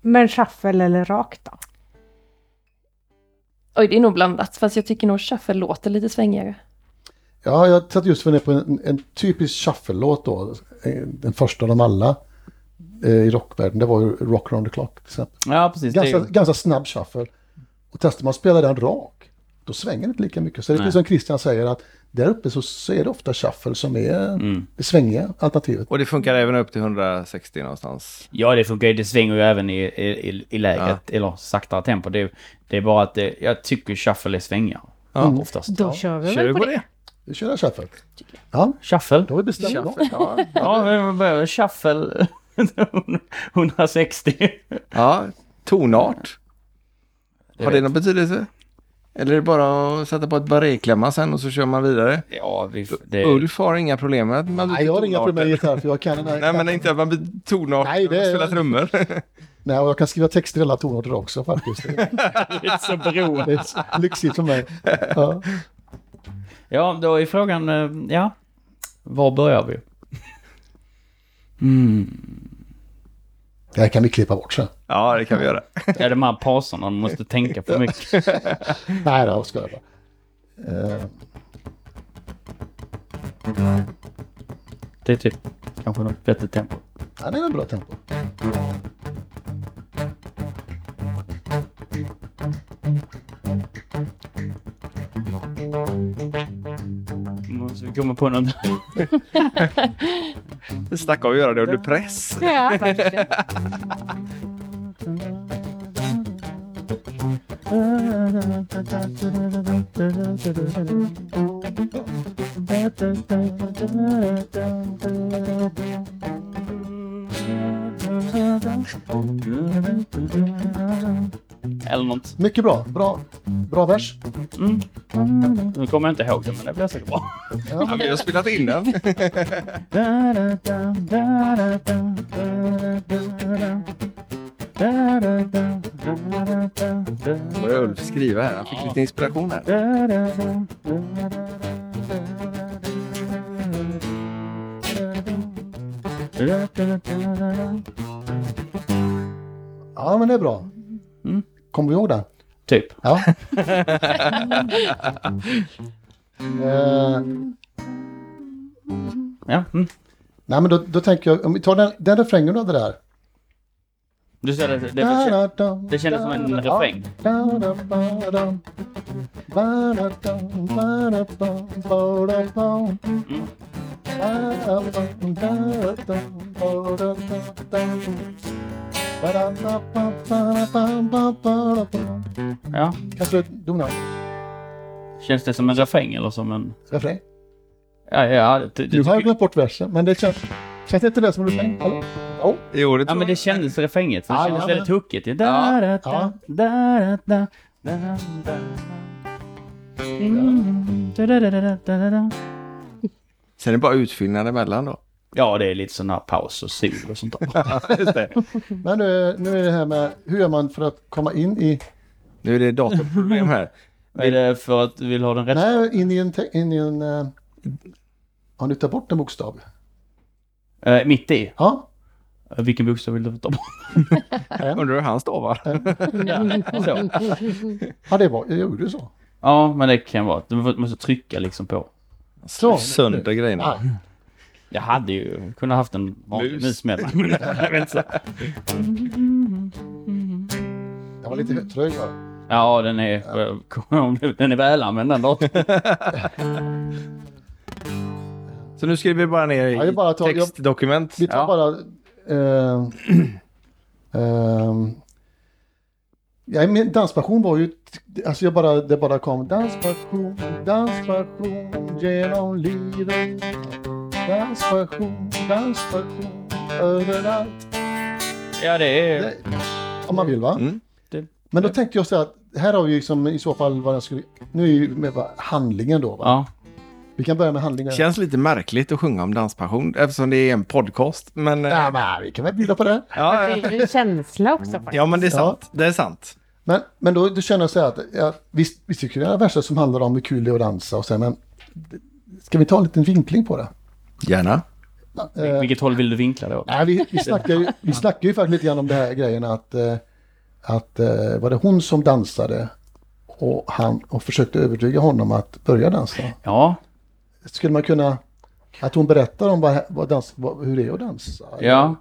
S1: Men shuffle eller rakt då?
S5: Oj, det är nog blandat. Fast jag tycker nog shuffle låter lite svängigare.
S4: Ja, jag satt just funderade på en, en typisk shuffle-låt då. eh, Den första av dem alla eh, i rockvärlden. Det var ju Rock around the clock till exempel.
S3: Ja, precis.
S4: Ganska,
S3: det, är ju-
S4: ganska snabb shuffle. Och testar man att spela den rak, då svänger det inte lika mycket. Så det är precis som Christian säger att där uppe så, så är det ofta shuffle som är
S2: Mm.
S4: det svängiga alternativet.
S2: Och det funkar även upp till 160 någonstans.
S3: ja, det funkar ju. Det svänger ju även i, i, i, i lägret, eller saktare tempo. Det, är- det är bara att det, jag tycker shuffle är svängar. Mm. Oftast.
S1: Då kör vi
S2: Kör
S1: väl
S2: vi
S1: på
S2: på
S1: det.
S2: det?
S4: Vi kör en shuffle. Ja,
S3: Shuffle?
S4: då har vi bestämt igång.
S2: Ja,
S3: Ja, men börjar shuffle 160.
S2: ja. Tonart. Har det någon betydelse? Eller är det bara att sätta på ett barréklämma sen och så kör man vidare?
S3: Ja, vi, det,
S2: Ulf har inga problem med att man byter
S4: Nej, jag har inga
S2: tonarter.
S4: problem med gitarr för jag kan den här.
S2: Nej, men inte att man byter tonart
S4: Nej, det-
S2: och spelar trummor.
S4: Nej, och jag kan skriva texter i alla tonarter också faktiskt. Det
S3: det är så beroende.
S4: är lyxigt för mig. Ja.
S3: Ja, då är frågan, eh, ja. Var börjar vi?
S4: Det här kan vi klippa bort sen.
S2: ja, det kan vi göra.
S3: Ja, de här pauserna, man måste tänka för mycket.
S4: Nej då, ska jag bara. Eh,
S3: Det är typ kanske något bättre tempo.
S4: ja, det är en bra tempo.
S3: Måste vi komma på något?
S2: Det stackar att göra det under press.
S5: Ja, verkligen.
S3: Eller något.
S4: Mycket bra. Bra, bra vers.
S3: Nu kommer jag inte ihåg det, men det blir säkert bra.
S2: Ja, vi har spelat in den. Börjar Ulf skriva här. Han fick lite inspiration här.
S4: Ja, men det är bra. Kommer du ihåg den?
S3: Typ.
S4: Ja. Eh,
S3: Ja. Mm.
S4: nej, men då, då tänker jag, om vi tar den, den refrängen du hade där.
S3: Du ser det, det, det, det kändes som en refräng. ja.
S4: Kanske du donar
S3: Känns det som en refräng eller som en...
S4: refräng?
S3: Ja, ja. Det, det,
S4: Du har jag glömt bort versen, men det känns... Känns inte det som refräng?
S3: Mm.
S4: eller? Jo.
S2: Jo, det
S3: Ja,
S2: tror
S3: men
S2: jag.
S3: det kändes refränget. För det
S4: Ja,
S3: kändes
S4: ja,
S3: väldigt
S4: men-
S3: hookigt. Det- da, da, da,
S4: Ja.
S3: da, da, da, da, da. Mm. Da, da, da, da, da, da, da.
S2: Sen är det bara utfyllnad emellan då.
S3: Ja, det är lite sån här paus och sol och sånt där.
S2: Just det.
S4: Men nu, nu är det här med, hur gör man för att komma in i,
S2: Nu är det datorproblem här.
S3: Är det för att du vill ha den rätt?
S4: nej, in i en, te- in i en, eh, har ni tagit bort en bokstav?
S3: Eh, mitt i?
S4: Ja,
S3: Eh, Vilken bokstav vill du ta bort?
S2: Undrar hur han stavar.
S3: Så.
S4: ja det var, jag gjorde så.
S3: Ja, men det kan vara. Du måste trycka liksom på.
S4: Så,
S2: Sönder grejerna.
S4: Ja.
S3: Jag hade ju kunnat haft en vanlig
S2: Mus.
S3: mus med mig. Jag vet inte så.
S4: Den var lite trög va?
S3: Ja, den är, den är välanvänd den datorn.
S2: Så nu skriver vi bara ner i
S4: Ja, jag bara tar- jag-
S2: textdokument.
S4: Vi tar
S2: Ja.
S4: bara... Eh, eh, ja, min danspassion var ju... Alltså jag bara, det bara kom danspassion, danspassion genom livet. Danspassion, danspassion överallt.
S3: Ja, det är...
S4: Det- Om man vill va?
S2: Mm.
S3: Det-
S4: Men då tänkte jag så här att här har vi ju liksom i så fall vad jag skulle... Nu är ju med va- handlingen då va?
S3: Ja.
S4: Vi kan börja med handlingen.
S2: Känns lite märkligt att sjunga om danspassion eftersom det är en podcast. Men, eh,
S4: Ja, men vi kan väl bjuda på det.
S2: ja,
S1: Det
S2: ja.
S1: är ju en känsla också faktiskt.
S2: ja, men det är
S4: Ja.
S2: sant. Det är sant.
S4: Men, men då, då känner jag så här att ja, visst, visst tycker jag det är verser som handlar om hur kul det är att dansa och så här, men ska vi ta en liten vinkling på det?
S2: Gärna.
S4: Eh,
S3: Vilket håll vill du vinkla det åt?
S4: Nej, vi, vi, snackar ju, vi snackar ju faktiskt lite grann om det här grejen att, eh, att eh, var det hon som dansade och, han, och försökte övertyga honom att börja dansa?
S3: Ja,
S4: Skulle man kunna, att hon berättar om vad, vad dans, vad, hur det är att dansa?
S3: ja.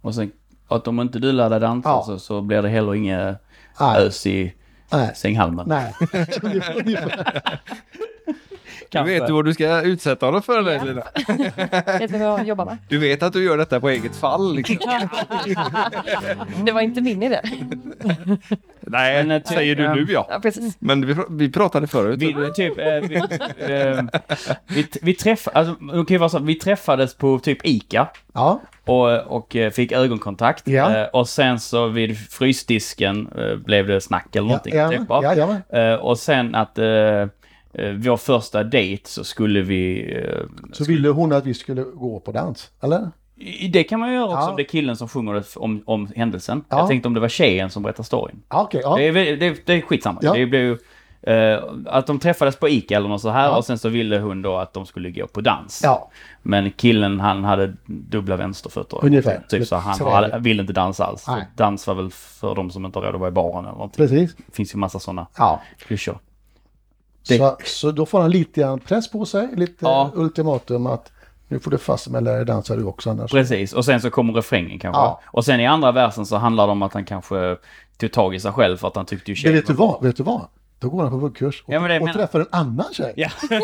S3: Och sen att om inte du lär dig dansa
S4: Ja.
S3: så, så blir det heller inget
S4: Nej,
S3: ös i
S4: nej,
S3: sänghalmen.
S4: nej. Ungefär.
S2: Du vet du vad du ska utsätta honom för eller Lina?
S5: Vet du vad jag jobbar med?
S2: Du vet att du gör detta på eget fall. Liksom.
S5: Det var inte min idé.
S2: Nej,
S3: Men, eh, ty-
S2: säger du
S3: ja.
S2: nu ja.
S5: Ja, precis.
S2: Men vi, pr- vi pratade förut.
S3: Vi, typ, eh, vi, eh, vi, vi, träff, alltså, det kan ju vara så, att vi träffades på typ ICA
S4: Ja,
S3: och, och eh, fick ögonkontakt.
S4: Ja.
S3: Eh, Och sen så vid frysdisken eh, blev det snack eller
S4: ja,
S3: någonting.
S4: ja,
S3: typ, va?
S4: ja, ja, men.
S3: Eh, och sen att eh, eh, vår första dejt så skulle vi... Eh,
S4: Så ville hon att vi skulle gå på dans, eller?
S3: i- det kan man göra också
S4: Ja.
S3: om det är killen som sjunger det f- om, om händelsen.
S4: Ja.
S3: Jag tänkte om det var tjejen som berättar storyn.
S4: Ja, okej.
S3: Det,
S4: ja.
S3: är, väl- det, det är skitsamma.
S4: Ja.
S3: Det blev ju... eh, att de träffades på Ica eller något så här
S4: Ja.
S3: och sen så ville hon då att de skulle gå på dans.
S4: ja.
S3: Men killen han hade dubbla vänsterfötter.
S4: Ungefär.
S3: Typ så han
S4: Så är det.
S3: hade, ville inte dansa alls.
S4: Nej.
S3: Dans var väl för de som inte har råd att vara i baren eller någonting.
S4: Precis.
S3: Det finns ju massa sådana
S4: Ja.
S3: klyschor. Det-
S4: Så, så då får han lite grann press på sig, lite
S3: Ja.
S4: ultimatum att nu får du fast med lära dig dansa du också annars.
S3: Precis, och sen så kommer refrängen kanske.
S4: Ja.
S3: Och sen i andra versen så handlar det om att han kanske tog tag i sig själv för att han tyckte ju
S4: Men
S3: tjejen
S4: vet du
S3: var-
S4: vad? Vet du vad? Då går han på buggkurs och,
S3: Ja, men det
S4: och
S3: menar-
S4: träffar en annan tjej.
S3: Ja.
S4: ja,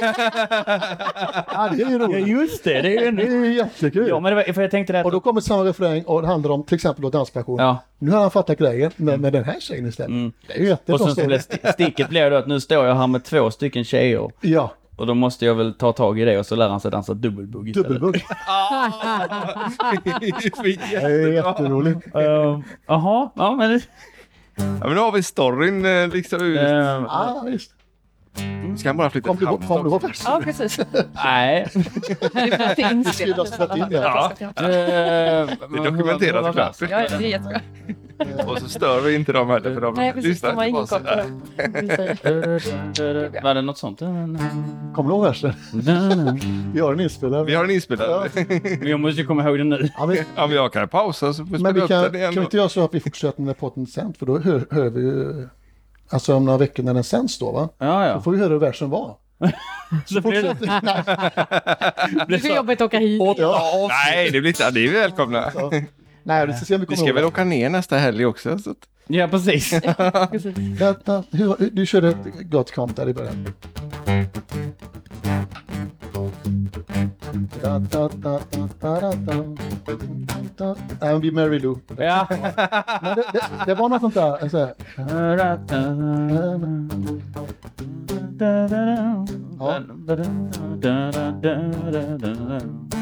S4: det är ju
S3: Ja,
S4: roligt.
S3: just det, det är ju
S4: Det
S3: en...
S4: är ju jättekul.
S3: Ja, men det var, för jag tänkte det
S4: Och
S3: att...
S4: då kommer samma refräng och det handlar om till exempel då danspassion.
S3: Ja.
S4: Nu har han fattat grejen med, med den här tjejen istället.
S2: Mm.
S4: Det är ju
S3: Och
S4: jättebra.
S3: sen så blev st- sticket blev då att nu står jag här med två stycken tjejer
S4: Ja,
S3: och då måste jag väl ta tag i det och så lär han sig dansa dubbelbugg istället.
S4: dubbelbugg. Det
S2: Ja,
S4: är jätteroligt.
S3: Eh, Jaha, ja men... det-
S2: men nu har vi storyn eh, liksom. ut.
S3: eh,
S4: Ja, visst.
S2: Ska han bara flytta
S4: Kom du,
S2: till
S4: ihåg- kom du
S2: Halmstad?
S4: ihåg versen?
S5: Ja, precis.
S3: nej.
S5: Det finns
S4: Skulle ha satt in den.
S2: Ja.
S3: Det
S2: dokumenterat
S3: Ehm,
S2: såklart.
S5: Ja, det är jättebra.
S2: Och så stör vi inte dem heller för de
S5: Nej, precis. De har ingen koll på det.
S3: Var det något sånt?
S4: Kommer du ihåg versen? Vi har den inspelad.
S2: Vi har en inspelad.
S3: Men jag måste ju komma ihåg det nu.
S4: Ja, men,
S2: Ja, men jag kan pausa så får vi
S4: men vi
S2: spela
S4: kan,
S2: upp den
S4: kan
S2: igen.
S4: vi
S2: då.
S4: inte göra så att vi fortsätter med podden sen? För då hör, hör vi ju... Alltså om några veckor när den sänds då, va?
S3: Ja,
S4: Då
S3: ja.
S4: får vi höra hur versen var.
S3: Så blir det-
S4: Fortsätt. Nej,
S1: Det är så jobbigt att åka hit.
S4: ja.
S2: Nej, det blir inte... Ni är välkomna.
S4: Nej, vi ska se om vi
S2: Vi
S4: kommer
S2: ska
S4: ihåg.
S2: väl åka ner nästa helg också. Så att...
S3: Ja, precis.
S5: Precis.
S4: Vänta, hur, hur- du körde ett gott kamp där i början. Även vid Mary Lou.
S3: Ja.
S4: Men det, det, det var något sånt där. Så här.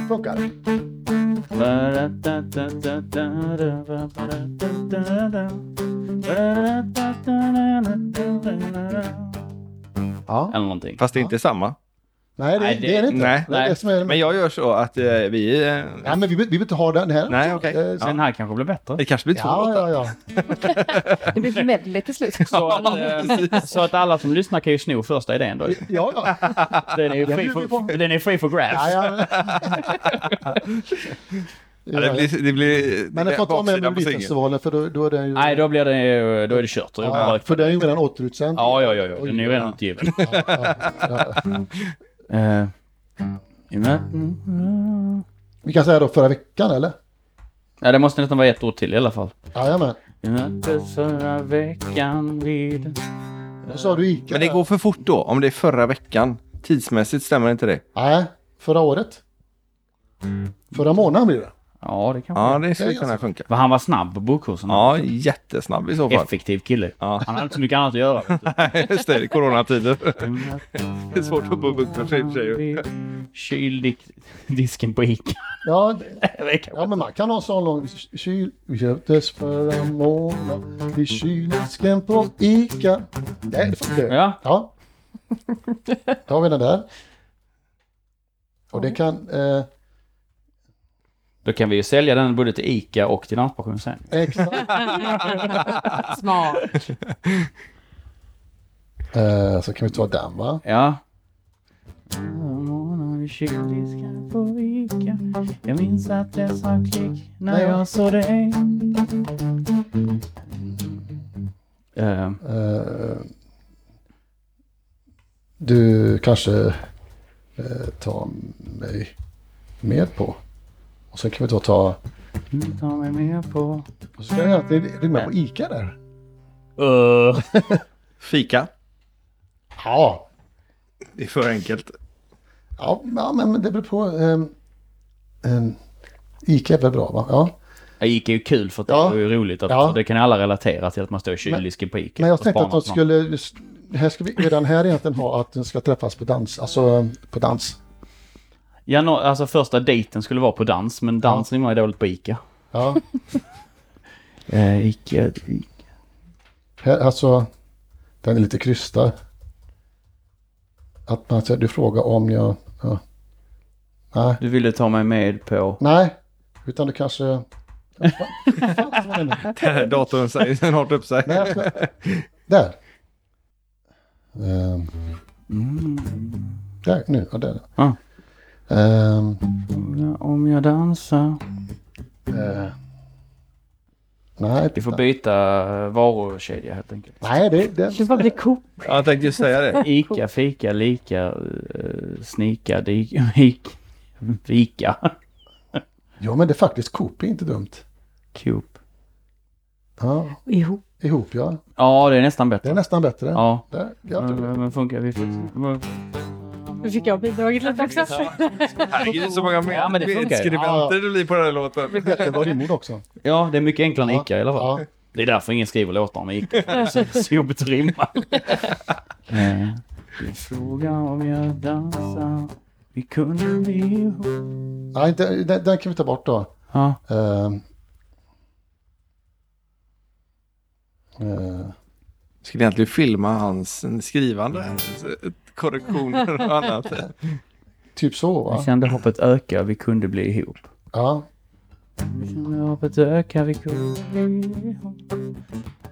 S4: Funkar. Ja.
S3: Eller någonting.
S2: Fast det är inte samma.
S4: Nej, det,
S3: Nej, det-
S4: det är det inte.
S2: nej,
S4: det är
S3: nej.
S4: Det som är,
S2: Men jag gör så att eh, vi... eh,
S4: nej, men vi, vi vill inte ha den här.
S2: Nej, okej.
S4: Eh, så-
S3: Den här kanske blir bättre.
S2: Det kanske blir två
S4: Ja,
S2: låtar.
S4: ja, ja.
S5: Det blir medley till slut.
S3: Så att, eh, så att alla som lyssnar kan ju sno första idén då.
S4: ja, ja.
S3: Den är ju
S4: Jag
S3: free
S4: bjuder
S3: for, den är free for
S4: ja,
S3: grabs.
S4: ja.
S2: Ja, det blir... Det blir
S4: Men jag får ta med
S2: baksidan på singeln.
S4: Melodifestivalen för då, då är den ju...
S3: Nej, då blir det, ju- då är det kört. Då
S4: Ja,
S3: bara-
S4: för den är ju redan återutsänd.
S3: Ja, ja, ja, ja. Den är ju redan utgiven.
S4: Ja, ja, ja.
S3: Eh,
S4: Vi kan säga då förra veckan eller?
S3: Ja, det måste nästan vara ett ord till i alla fall.
S4: Jajamän.
S3: Vi möttes förra veckan vid...
S4: Då sa du Ica.
S2: Men det går för fort då, om det är förra veckan. Tidsmässigt stämmer inte det?
S4: Nej, förra året. Förra månaden blir det.
S3: Ja, det kanske...
S2: Ja, det skulle kunna funka.
S4: Mm.
S3: Men han var snabb på bokkursen.
S2: Ja, jättesnabb i så fall.
S3: Effektiv kille.
S2: Ja.
S3: Han hade inte så mycket annat att göra. vet du.
S2: Nej, Just det, det är coronatider. Det är svårt att bo bukt för sig i och för sig. ju.
S3: Kyldisken på Ica.
S4: Ja, det- ja, men man kan ha en sån lång kyl... Vi köptes förra månaden i kyldisken på Ica. Nej, det funkar.
S3: Ja.
S4: Ja. Då har vi den där. Och det kan... Eh,
S3: Då kan vi ju sälja den både till Ica och till Nattpension sen.
S4: exakt.
S1: Smart.
S4: Eh, så kan vi ta den va?
S3: Ja. Vid kyldisken på Ica. Jag minns att det sa klick när jag såg dig. Eh,
S4: Eh, du kanske eh, tar mig med på. Och sen kan vi då ta...
S3: nu tar mig med på...
S4: Och så kan jag alltid rimma på ICA där.
S3: Uh.
S2: Fika.
S4: Ja.
S2: Det är för enkelt.
S4: Ja, ja men men det beror på. ehm, ehm, ICA är väl bra va? Ja.
S3: Ica är ju kul för att
S4: Ja.
S3: det är ju roligt. Att,
S4: Ja.
S3: Det kan alla relatera till att man står i kyldisken på Ica.
S4: Men jag
S3: och
S4: tänkte att
S3: spanar
S4: de
S3: på någon.
S4: skulle... Här ska vi redan här egentligen ha att de ska träffas på dans. Alltså ehm, på dans.
S3: Ja, nå- alltså första dejten skulle vara på dans, men dans rimmar ju dåligt på Ica.
S4: Ja.
S3: Eh, Ica, Ica.
S4: Här, alltså, den är lite krystad. Att man säger, du frågar om jag... Ja. Nej,
S3: Du ville ta mig med på...
S4: nej, utan du kanske... Vad fan var det nu?
S2: Datorn säger snart upp sig.
S4: Nej, jag ska... Där. Ehm,
S3: Mm,
S4: där, nu. Ja, där.
S3: Ja.
S4: Ehm,
S3: Om jag dansar...
S4: eh, nej,
S3: Vi får byta varukedja helt enkelt.
S4: nej, det, det,
S5: Du bara blir cool.
S2: Ja, jag tänkte just säga det.
S3: Ica, fika, lika, eh, snika, dika, ik, vika,
S4: Jo, men det är faktiskt Coop är inte dumt.
S3: Coop.
S4: Ja,
S1: Jo.
S4: ihop ja.
S3: Ja, det är nästan
S4: Det är
S3: bättre.
S4: nästan bättre.
S3: Ja. Mm.
S4: Där,
S3: Men,
S4: ja.
S3: men funkar vi?
S1: Nu fick jag bidragit lite också.
S2: Herregud, så många
S3: Ja, men det funkar.
S2: skribenter det blir på den här låten.
S4: Jättebra rimord också.
S3: Ja, det är mycket enklare än
S4: Ja.
S3: Ica i alla fall.
S4: Ja.
S3: Det är därför ingen skriver låtar om Ica. Det är så, så jobbigt att rimma. Eh, Du frågar om jag dansar. Vi kunde bli ihop.
S4: Nej, den, den, den kan vi ta bort då.
S3: Ja.
S4: Ehm. Eh,
S2: Skulle egentligen filma hans skrivande, korrektioner och annat.
S4: typ så va?
S3: Vi kände hoppet öka. Vi kunde bli ihop.
S4: Ja.
S3: Vi kunde hoppet öka, vi kunde bli ihop.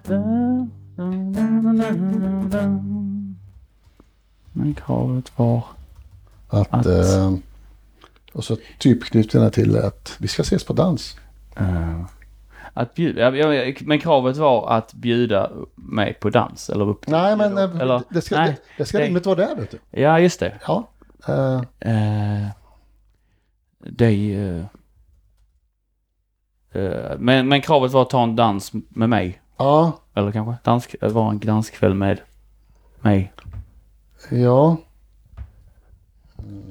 S3: Da, da, da, da, da, da. Men kravet var...
S4: Att,
S3: Att-
S4: ehm, och så typ knyter den till att vi ska ses på dans.
S3: eh, att bjuda, ja, ja, ja, men kravet var att bjuda mig på dans eller upp.
S4: Nej men eh,
S3: Eller-
S4: det ska,
S3: nej,
S4: det, det ska
S3: det-
S4: rimligt vara där vet du.
S3: Ja, just det.
S4: Ja. Eh,
S3: Eh, dig... eh, eh, men, men kravet var att ta en dans med mig.
S4: ja.
S3: Eller kanske dansk, eh, var en danskväll med mig.
S4: Ja. Mm.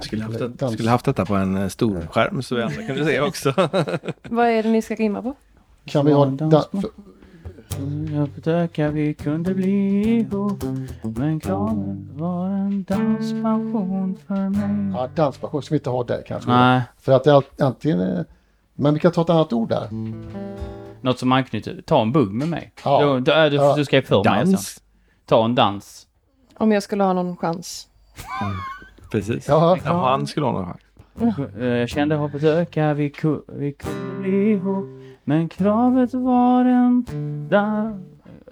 S2: Skulle haft,
S4: Dans.
S2: skulle haft detta på en eh, stor skärm så vi andra kunde se också.
S5: Vad är det ni ska rimma på?
S4: Kan vi ha
S3: Dans
S4: dan-
S3: på-
S4: för-
S3: Öppet öka vi kunde bli ihop Men kraven var en danspassion för mig
S4: ja, danspassion ska vi inte ha där kanske.
S3: Nej,
S4: För att det är allt- antingen... eh, Men vi kan ta ett annat ord där.
S3: Mm. något som anknyter. Ta en bugg med mig.
S4: Ja.
S3: Du, du, äh, du,
S4: Ja.
S3: du skrev för mig sen. Ta en dans.
S5: Om jag skulle ha någon chans.
S2: Precis.
S4: Ja.
S2: Ja, han skulle ha någon chans.
S3: Eh, Jag kände hoppet öka, vi, ku, vi kunde bli ihop Men kravet var en dans...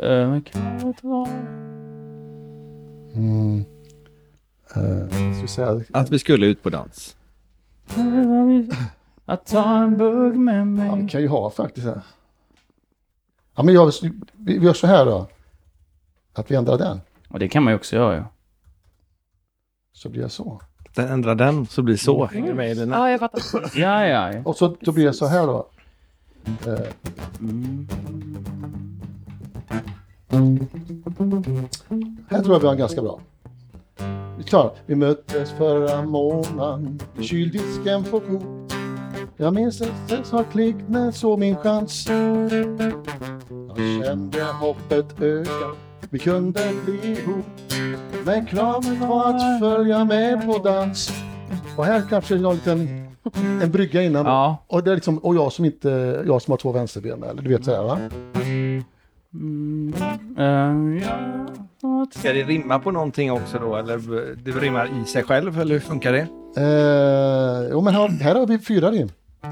S3: Men kravet var...
S4: Mm. Eh, ska vi säga,
S2: Att vi skulle ut på dans.
S3: Att ta en bugg med
S4: ja, vi
S3: mig
S4: kan ju ha faktiskt. här. Ja, men jag, vi vi gör så här då. Att vi ändrar den.
S3: Och det kan man ju också göra ju.
S4: Så blir jag så.
S6: den, ändra den så blir det så.
S4: Mm.
S2: Hänger med i den här.
S5: Ja, jag fattar.
S3: Ja, ja. ja.
S4: Och så då blir det så här då. Eh. Här tror jag vi har en ganska bra. Vi klarar. Vi möttes förra månaden i kyldisken på Coop. Jag minns att det sa klick när jag såg min chans. Jag kände hoppet öka. Vi kunde bli ihop. Men kravet var att följa med på dans. Och här kanske jag har en liten en brygga innan.
S3: Ja.
S4: Och, det är liksom, och jag som inte, jag som har två vänsterben eller du vet så här va?
S3: Mm, Eh, ja.
S6: Ska det rimma på någonting också då? Eller b- det rimmar i sig själv? Eller hur funkar det?
S4: Eh, jo men här, här har vi fyra rim.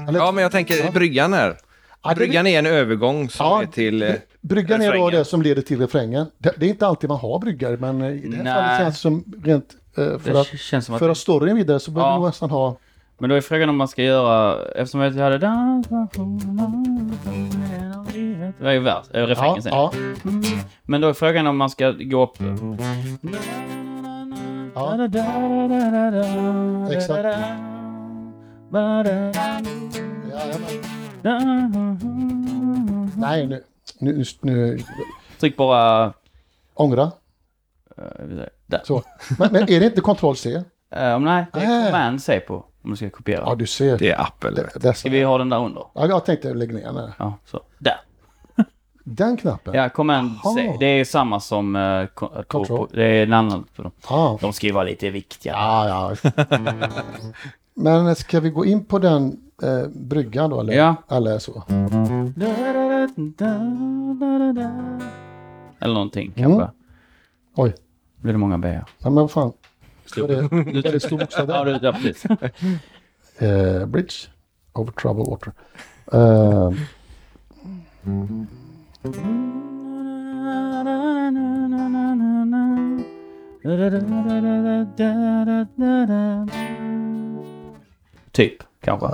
S4: Eller,
S6: Ja, men jag tänker i bryggan här.
S4: ja, det-
S6: Bryggan är en övergång som
S4: Ja,
S6: är till... eh,
S4: Bryggan är då
S6: refrängen.
S4: det som leder till refrängen. Det, det är inte alltid man har bryggar men eh, i det här
S3: Nej.
S4: fallet känns det som rent eh, för,
S3: Det
S4: att,
S3: känns som att...
S4: för att storyn vidare så behöver
S3: Ja.
S4: man nästan ha
S3: Men då är frågan om man ska göra... Eftersom jag hade... Det är ju vers, eh,
S4: ja,
S3: refrängen sen.
S4: ja,
S3: Men då är frågan om man ska gå upp...
S4: Ja. Exakt. ja, ja, men- Nej nu, nu, nu, nu
S3: Tryck bara...
S4: ångra.
S3: eh, vi säger, Där.
S4: Så. Men, men är det inte kontroll C?
S3: Eh, om nej, det är
S4: Nej.
S3: command C på. Om du ska kopiera.
S4: Ah. Ja du ser.
S6: Det är Apple. vet du.
S4: Det är
S3: Ska
S4: så.
S3: vi ha den där under?
S4: Ja, jag tänkte lägga ner den.
S3: Ja, så. Där.
S4: Den knappen?
S3: Ja, command C.
S4: Jaha.
S3: Det är samma som... eh, ko- att gå
S4: Control.
S3: på- Det är en annan. För dem.
S4: Ja.
S3: De ska ju vara lite viktiga.
S4: Ja, ja. Men ska vi gå in på den eh, bryggan då? Eller,
S3: Ja.
S4: eller så?
S3: Eller någonting
S4: Mm.
S3: kanske.
S4: Oj,
S3: Blir det många B?
S4: ja, men vad fan. Var det väldigt stor bokstav
S3: Ja,
S4: där?
S3: du, ja precis.
S4: Eh, bridge over troubled water. Eh,
S3: Typ, kanske.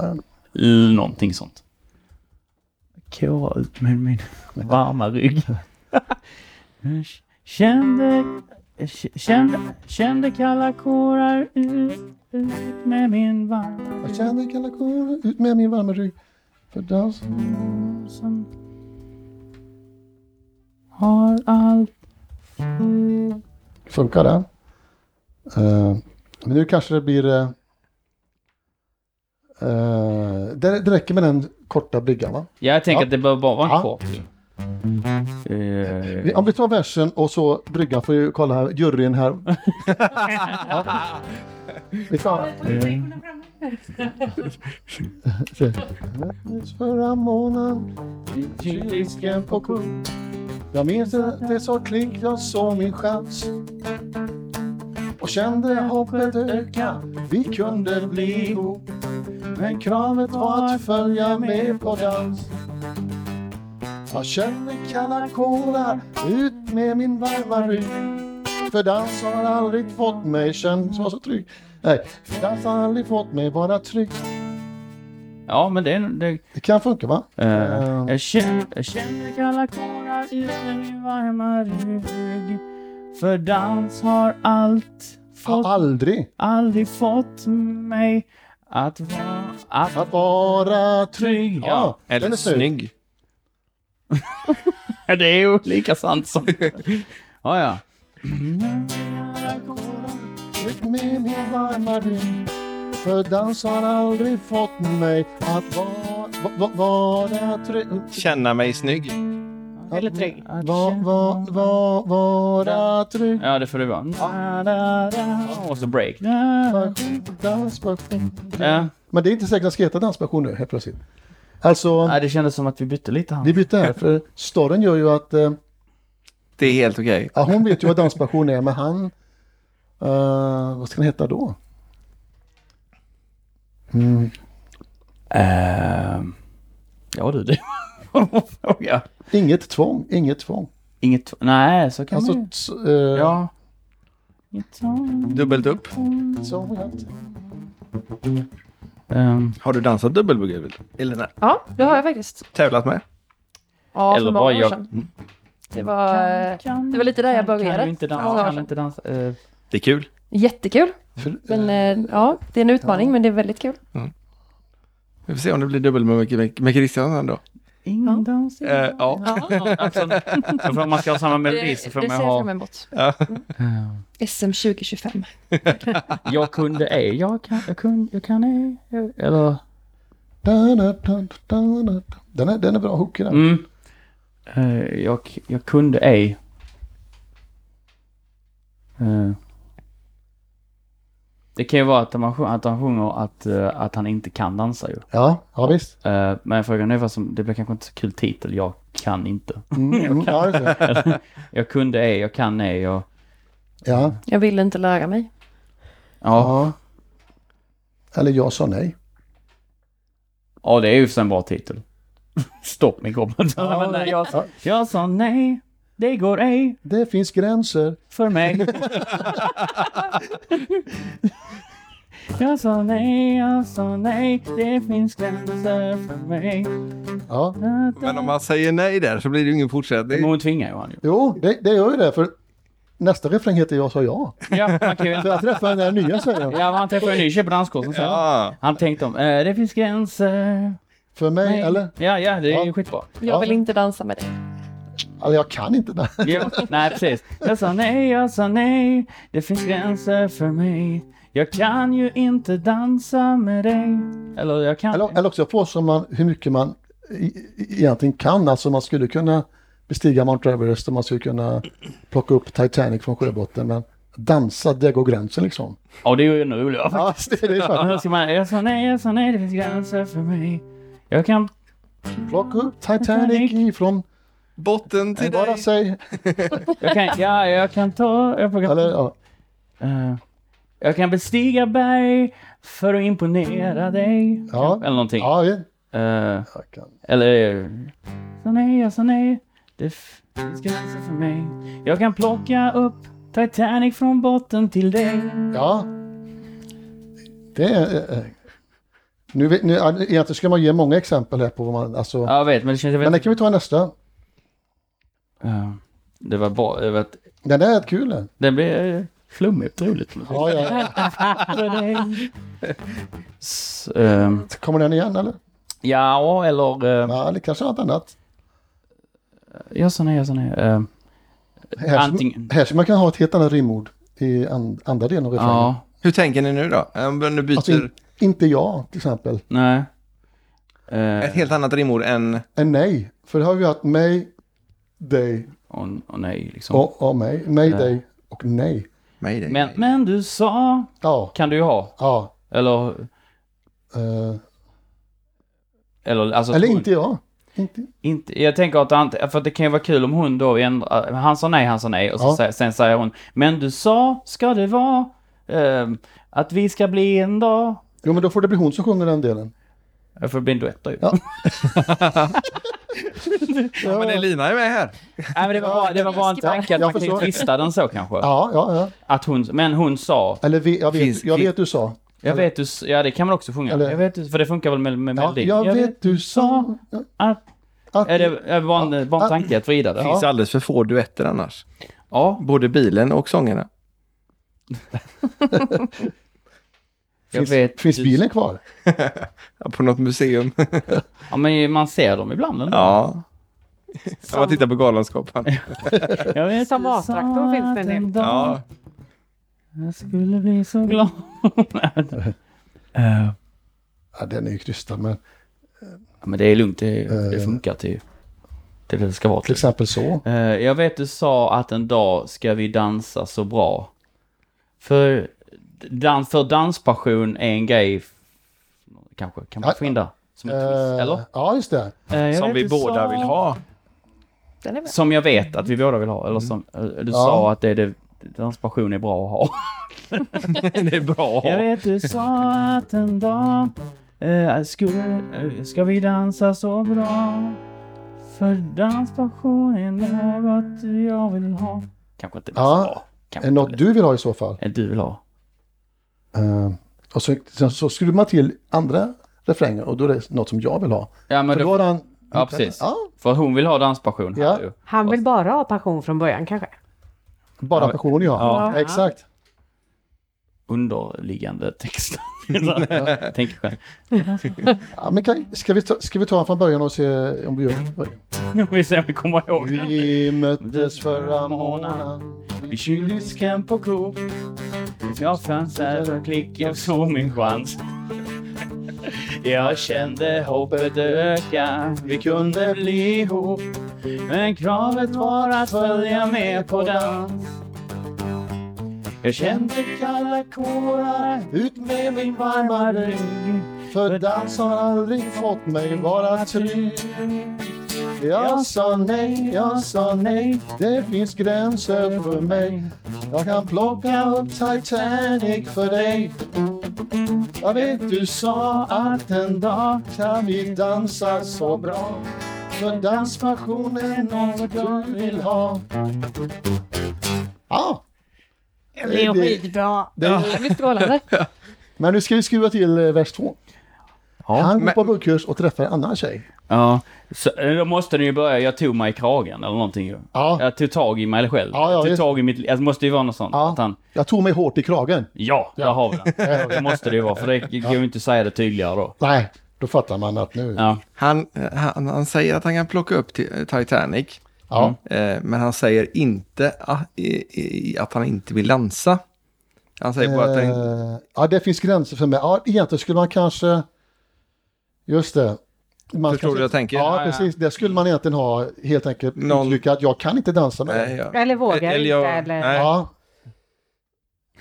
S3: L- Någonting sånt. Kåra ut med min varma rygg. Kände, k- kände, kände kalla kårar ut, ut med min varma
S4: jag känner kalla kårar ut med min varma rygg. För dans.
S3: som har allt.
S4: Funkar den? Eh, men nu kanske det blir... Eh, eh, det, det räcker med den korta bryggan va?
S3: Jag tänker
S4: Ja.
S3: att det behöver bara vara en
S4: Ja.
S3: kort. Eh,
S4: Vi- Om vi tar versen och så bryggan får ju kolla här, juryn här. Ja. Vi tar... Möttes Förra månaden i kyldisken på Coop. Jag minns att det sa klick, jag såg min chans. Och kände hoppet öka, vi kunde bli ihop. Men kravet var att följa med på dans. Jag kände kalla kårar ut med min varma rygg. För dans har aldrig fått mig känna så så trygg. Nej, för dans har aldrig fått mig vara trygg.
S3: ja, men det är... Det,
S4: Det kan funka va?
S3: Eh,
S4: Eh.
S3: jag, känner, jag känner kalla kårar i min varma rygg. För dans har allt fått,
S4: Har aldrig
S3: aldrig fått mig att vara... Att,
S4: att vara trygg.
S3: trygg. Ja.
S4: Ja, den
S6: Eller
S4: är snygg.
S6: snygg.
S3: Det är ju lika sant som... ja, ja.
S4: Ut med min varma rygg. För dans har aldrig fått mig att vara, va, va, vara trygg.
S6: Känna mig snygg.
S1: Eller trygg.
S3: Att
S4: Va,
S3: känna-
S4: va, va, vara trygg.
S3: Ja, det får det vara. Da, da, da. Och så break. Da, da.
S4: Dansversion.
S3: Ja.
S4: Men det är inte säkert att jag ska heta dansversion nu helt plötsligt. Alltså,
S3: Ja, det kändes som att vi bytte lite här.
S4: vi bytte här för storyn gör ju att eh,
S6: Det är helt okej.
S4: ja, hon vet ju vad dansversion är men han, eh, vad ska han heta då? Mm.
S3: Ehm. ja du, det var en fråga.
S4: Inget tvång, inget tvång.
S3: Inget... Nej, så kan
S4: Alltså,
S3: man ju.
S4: t- eh,
S3: Ja.
S6: Dubbelt upp.
S4: som jag-
S3: Ehm,
S6: Har du dansat dubbelbugg, Elvin? Elina?
S5: Ja, det har jag faktiskt.
S6: Tävlat med?
S5: Ja,
S3: Eller
S5: för
S3: bara
S5: många år
S3: jag-
S5: sedan. Det var, eh, det var lite där jag
S3: Kan
S5: började.
S3: du inte
S5: Många
S3: dansa?
S5: år
S3: Kan du
S5: sedan.
S3: inte dansa? Eh,
S6: Det är kul.
S5: Jättekul.
S4: För,
S5: Men eh, ja, det är en utmaning men det är väldigt kul.
S6: Vi får se om det blir dubbel med Micke- Micke Kristiansson då.
S3: In dans, in
S6: Eh,
S3: dans.
S6: ja.
S3: Ja, alltså, för om man ska ha samma melodi så får
S5: det
S3: man
S5: ser jag fram
S3: ha...
S5: emot. Mm. SM 2025.
S3: Jag kunde ej, jag kan, jag kunde, jag kan ej. Eller...
S4: da, da, da, da, da. Den, är, den är bra hook i den.
S3: Mm. Eh, jag, jag kunde ej. Eh. det kan ju vara att han, sjung- att han sjunger att, eh, att han inte kan dansa ju.
S4: Ja, ja visst.
S3: Eh, men frågan är vad som, det blir kanske inte så kul titel, jag kan inte.
S4: Mm, mm, ja, just det.
S3: jag kunde ej, jag kan ej, jag...
S4: ja,
S5: Jag vill inte lära mig.
S3: Ja,
S4: ja. Eller jag sa nej.
S3: ja det är ju för sig en bra titel. Stopp mig gobben.
S4: Ja,
S3: Men, eh, jag,
S4: ja.
S3: jag sa nej, det går ej
S4: Det finns gränser.
S3: för mig. jag sa nej, jag sa nej, det finns gränser för mig.
S4: Ja.
S6: Men om man säger nej där så blir det ju ingen fortsättning.
S3: Men hon tvingar ju han ju.
S4: Jo, det, det gör ju det. För nästa refräng heter Jag sa ja.
S3: Ja, man kan ju
S4: För jag träffade den där nya säger jag.
S3: Ja, han träffade en ny tjej på danskursen sen.
S6: Ja.
S3: Han tänkte om, eh, det finns gränser.
S4: För mig,
S3: Nej.
S4: eller?
S3: Ja, ja, det är ju
S4: Ja.
S3: skitbra.
S4: Ja.
S5: Jag vill inte dansa med dig.
S4: Eller Alltså, jag kan inte den.
S3: Jo, nej, precis. Jag sa nej, jag sa nej. Det finns gränser för mig. Jag kan ju inte dansa med dig. Eller jag kan...
S4: Eller, eller också påstår man hur mycket man i- i- egentligen kan. Alltså man skulle kunna bestiga Mount Everest och man skulle kunna plocka upp Titanic från sjöbotten. Men dansa, där går gränsen liksom.
S3: Ja, det är ju ännu roligare.
S4: Ja, det är det
S3: Men
S4: faktiskt.
S3: då ska man, jag sa nej, jag sa nej. Det finns gränser för mig. Jag kan...
S4: Plocka upp Titanic ifrån,
S6: Botten till
S4: bara
S6: dig.
S4: säg.
S3: Jag kan... Ja, jag kan ta... Jag kan,
S4: Eller ja,
S3: Eh, jag kan bestiga berg för att imponera dig.
S4: Ja.
S3: Eller någonting.
S4: ja, ja.
S3: Eh,
S4: Jag kan.
S3: Eller... Så nej, jag sa nej. Det f- finns gränser för mig. Jag kan plocka upp Titanic från botten till dig.
S4: Ja. Det är... eh, eh. Nu, vet- nu, ja, egentligen ska man ge många exempel här på vad man... Alltså,
S3: Ja, jag vet, men det känns... Jag vet,
S4: Men det kan vi ta i nästa.
S3: Eh, det var bra. Jag vet,
S4: Den där är kul. den.
S3: det blir eh, flummigt roligt.
S4: Ja, ja.
S3: För dig. S- ehm,
S4: Kommer den igen eller?
S3: ja, eller... eh,
S4: Ja, eller kanske något annat.
S3: jag sa nej, jag sa nej. Eh,
S4: Här,
S3: Antingen-
S4: som, här som man kan ha ett helt annat rimord i and, andra delen av refrängen.
S3: ja,
S6: Hur tänker ni nu då? Om du byter
S4: Alltså, in, inte jag till exempel.
S3: nej. Eh,
S6: ett helt annat rimord än...
S4: En nej. För det har vi haft mig, dig
S3: och, och nej, liksom.
S4: och, och mig. Mig, dig och nej.
S6: Nej, det-
S3: men, men du sa...
S4: Ja,
S3: Kan du ju ha.
S4: ja.
S3: Eller...
S4: eh,
S3: Eller, alltså,
S4: eller
S3: hon-
S4: inte jag. Inte,
S3: Inte, jag tänker att han, för att det kan ju vara kul om hon då ändrar, han sa nej, han sa nej och så
S4: Ja.
S3: säger, sen säger hon Men du sa, ska det vara, ehm, att vi ska bli en dag.
S4: jo, men då får det bli hon som sjunger den delen.
S3: Jag får bli en duett då ju.
S4: Ja.
S6: Ja, men Elina är med här.
S3: Nej men det var, bara, det var bara en tanke
S4: Jag
S3: att man kan ju
S4: förstår.
S3: twista den så kanske.
S4: Ja, ja, ja.
S3: Att hon, men hon sa,
S4: Eller vi, jag,
S6: Finns-
S4: vet, jag
S6: fin-
S4: vet du sa.
S3: jag vet du, s- ja det kan man också sjunga.
S4: Eller-
S3: jag vet du, för det funkar väl med, med
S4: Ja,
S3: melodin.
S4: jag vet du sa.
S3: att,
S4: Att,
S3: är det, är det bara en, bara en
S4: att-
S3: tanke att vrida det?
S6: Det finns alldeles för få duetter annars.
S3: Ja.
S6: Både bilen och sångerna.
S3: Jag
S4: finns,
S3: vet
S4: finns
S3: du-
S4: bilen kvar?
S6: Ja, På något museum.
S3: ja, men man ser dem ibland ändå.
S6: Ja. Om man tittar på Galenskaparna.
S3: Jag vet
S1: Som
S3: du sa
S1: A-traktor finns det en del.
S3: att dag-
S6: Ja.
S3: Jag skulle bli så glad. Eh,
S4: Ja, den är ju krystad, men
S3: men det är lugnt, det, det
S4: Eh.
S3: funkar till, till det det ska vara
S4: till
S3: till.
S4: exempel så.
S3: Eh, jag vet du sa att en dag ska vi dansa så bra. För, dan, för danspassion är en grej, f- kanske kan man
S4: Ja.
S3: få in där. Som en twist,
S4: Eh,
S3: eller?
S4: Ja, just det.
S3: Eh, jag
S6: Som
S3: vet
S6: vi
S3: du
S6: båda
S3: sa-
S6: vill ha.
S5: Den är med.
S3: Som jag vet att vi båda vill ha,
S4: Mm.
S3: eller som eh, du sa att det är det, danspassion är bra att ha.
S6: Det är bra.
S3: Jag vet du sa att en dag eh, skulle, eh, ska vi dansa så bra. För danspassion är något jag vill ha. Kanske inte
S4: Ja.
S3: så bra. Kanske
S4: Är något
S3: inte
S4: du vill ha i så fall?
S3: det du vill ha.
S4: Eh, och så, sen så skruvar man till andra refränger och då är det något som jag vill ha.
S3: Ja, men
S4: För då
S3: då,
S4: har han...
S3: ja precis.
S4: Ja,
S3: För hon vill ha danspassion här
S4: Ja.
S3: ju.
S1: Han vill bara ha passion från början kanske?
S4: bara passion ja.
S1: Ja.
S4: Exakt.
S3: underliggande texten. Så, jag Tänker själv.
S4: Ja, men kan, ska, vi ta, ska vi ta den från början och se om vi gör
S3: Vi ser om vi kommer ihåg. den.
S4: Vi möttes förra månaden.
S3: Vid kyldisken på Coop. Jag fanns där och klick, jag såg min chans. Jag kände hoppet öka, vi kunde bli ihop. Men kravet var att följa med på dans. Jag kände kalla kårar
S4: Ut
S3: med min varma rygg.
S4: För dans har aldrig fått mig vara trygg. Jag sa nej, jag sa nej. Det finns gränser för mig. Jag kan plocka upp Titanic för dig. Jag vet du sa att en dag kan vi dansa så bra. För danspassion är något du vill ha. Ja,
S1: Det är skitbra.
S5: Det blir strålande.
S4: men nu ska vi skruva till eh, vers två. Han går
S2: men-
S4: på buggkurs och träffar en annan tjej.
S3: Ja, så, eh, då måste den ju börja. Jag tog mig i kragen eller någonting ju.
S4: Ja.
S3: Jag tog tag i mig själv.
S4: Ja, ja,
S3: jag tog
S4: visst.
S3: tag i mitt liv. Alltså, det måste ju vara något sånt.
S4: Ja.
S3: Att han,
S4: Jag tog mig hårt i kragen.
S3: ja, där har vi den. Det måste det ju vara, för det går ju inte att säga det tydligare då.
S4: Nej, då fattar man att nu...
S3: Ja.
S2: Han, eh, han, han säger att han kan plocka upp ti- Titanic,
S4: Ja.
S2: eh, men han säger inte ah, i, i, att han inte vill dansa. Han säger bara att han inte...
S4: Eh, ja, det finns gränser för mig. Ja, egentligen skulle man kanske... Just det. Man
S2: Förstår du vad jag tänker?
S4: Ja,
S3: Ja, ja.
S4: precis. Det skulle man egentligen ha helt enkelt
S2: Någon-
S4: uttrycka att jag kan inte dansa med
S2: Nej,
S4: dig.
S2: ja. Eh,
S1: Eller vågar
S2: Eller jag-
S1: inte. Eller...
S2: nej.
S4: Ja,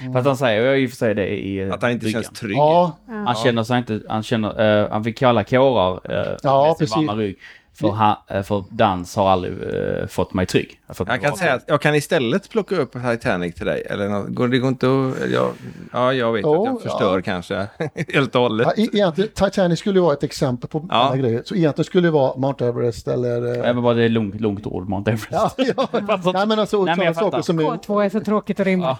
S4: Mm.
S3: Fast han säger ju i och för sig det i eh,
S2: Att han inte
S3: bryggan.
S2: känns trygg.
S4: ja,
S3: Han känner sig inte... Han, känner, eh, han fick kalla kårar eh,
S4: Ja,
S3: med sin
S4: precis.
S3: varma rygg. För, ha, eh, för dans har aldrig eh, fått mig trygg. Har fått mig
S2: Jag kan
S3: vara
S2: säga att jag kan istället plocka upp Titanic till dig. Eller något. Går- Det går inte att... eller Jag, ja, jag vet
S4: Jo,
S2: att jag förstör
S4: ja.
S2: kanske helt och hållet.
S4: ja e- egentligen, Titanic skulle ju vara ett exempel på
S2: Ja.
S4: alla grejer. Så egentligen skulle det vara Mount Everest eller... eh,
S3: Även bara det är lugnt, lugnt ord, Mount Everest.
S4: Ja, ja. Nej men alltså,
S3: Nej, men
S4: sådana
S3: jag fattar.
S4: saker som, är,
S1: K2 är så tråkigt att rimma.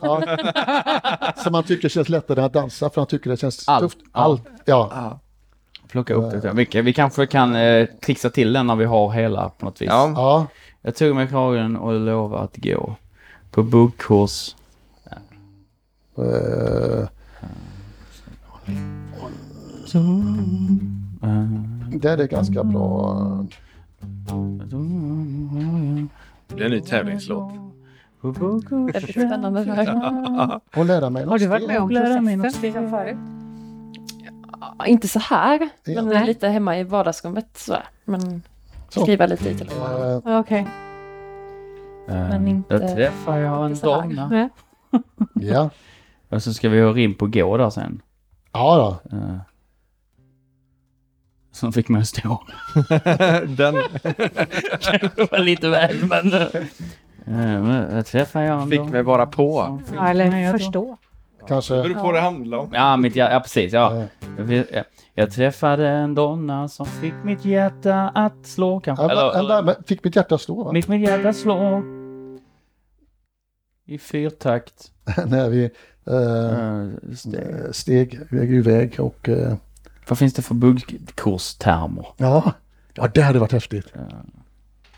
S4: som man tycker känns lättare än att dansa för han tycker det känns
S3: Allt.
S4: tufft.
S3: Ja.
S4: Allt. Ja.
S3: Plocka upp det. Vi, kan- vi kanske kan eh, trixa till den när vi har hela på något vis.
S2: Ja.
S4: ja.
S3: Jag tog mig i kragen och lovade att gå på buggkurs.
S4: Eh, det är ganska bra.
S2: Det är en ny tävlingslåt.
S3: På buggkurs.
S5: Väldigt spännande. Det här.
S4: Och lära mig något
S1: Har du varit
S4: stil.
S1: med om
S3: Lära mig
S1: processen? liksom förut?
S5: Ja, Inte så här,
S4: Ja.
S5: men lite hemma i vardagsrummet sådär. Men
S4: Så.
S5: skriva lite i telefonen.
S4: Eh,
S1: Okej.
S5: Men inte-
S3: Där träffade jag en
S5: inte så här.
S3: donna.
S1: Nej.
S4: Ja,
S3: Och så ska vi ha rim på gå där sen.
S4: ja då.
S3: Eh, Som fick mig att stå.
S2: Den
S3: Det var lite väl men... Eh, men Där träffade jag en
S2: fick
S3: donna.
S2: mig bara på.
S1: Ja, eller förstå.
S4: kanske.
S2: beror på vad det handlar om.
S3: Ja, mitt, hjär- ja precis. Ja.
S4: Eh,
S3: Vi- eh, Jag träffade en donna som fick mitt hjärta att slå. Kanske.
S4: Han
S3: Eller,
S4: var- han
S3: eller,
S4: där med- fick mitt hjärta slå va?
S3: mitt, mitt hjärta slå. I fyrtakt.
S4: När vi eh,
S3: Eh, steg.
S4: eh, steg väg ur väg och eh,
S3: Vad finns det för buggkurstermer?
S4: ja, ja det hade varit häftigt.
S3: Ja.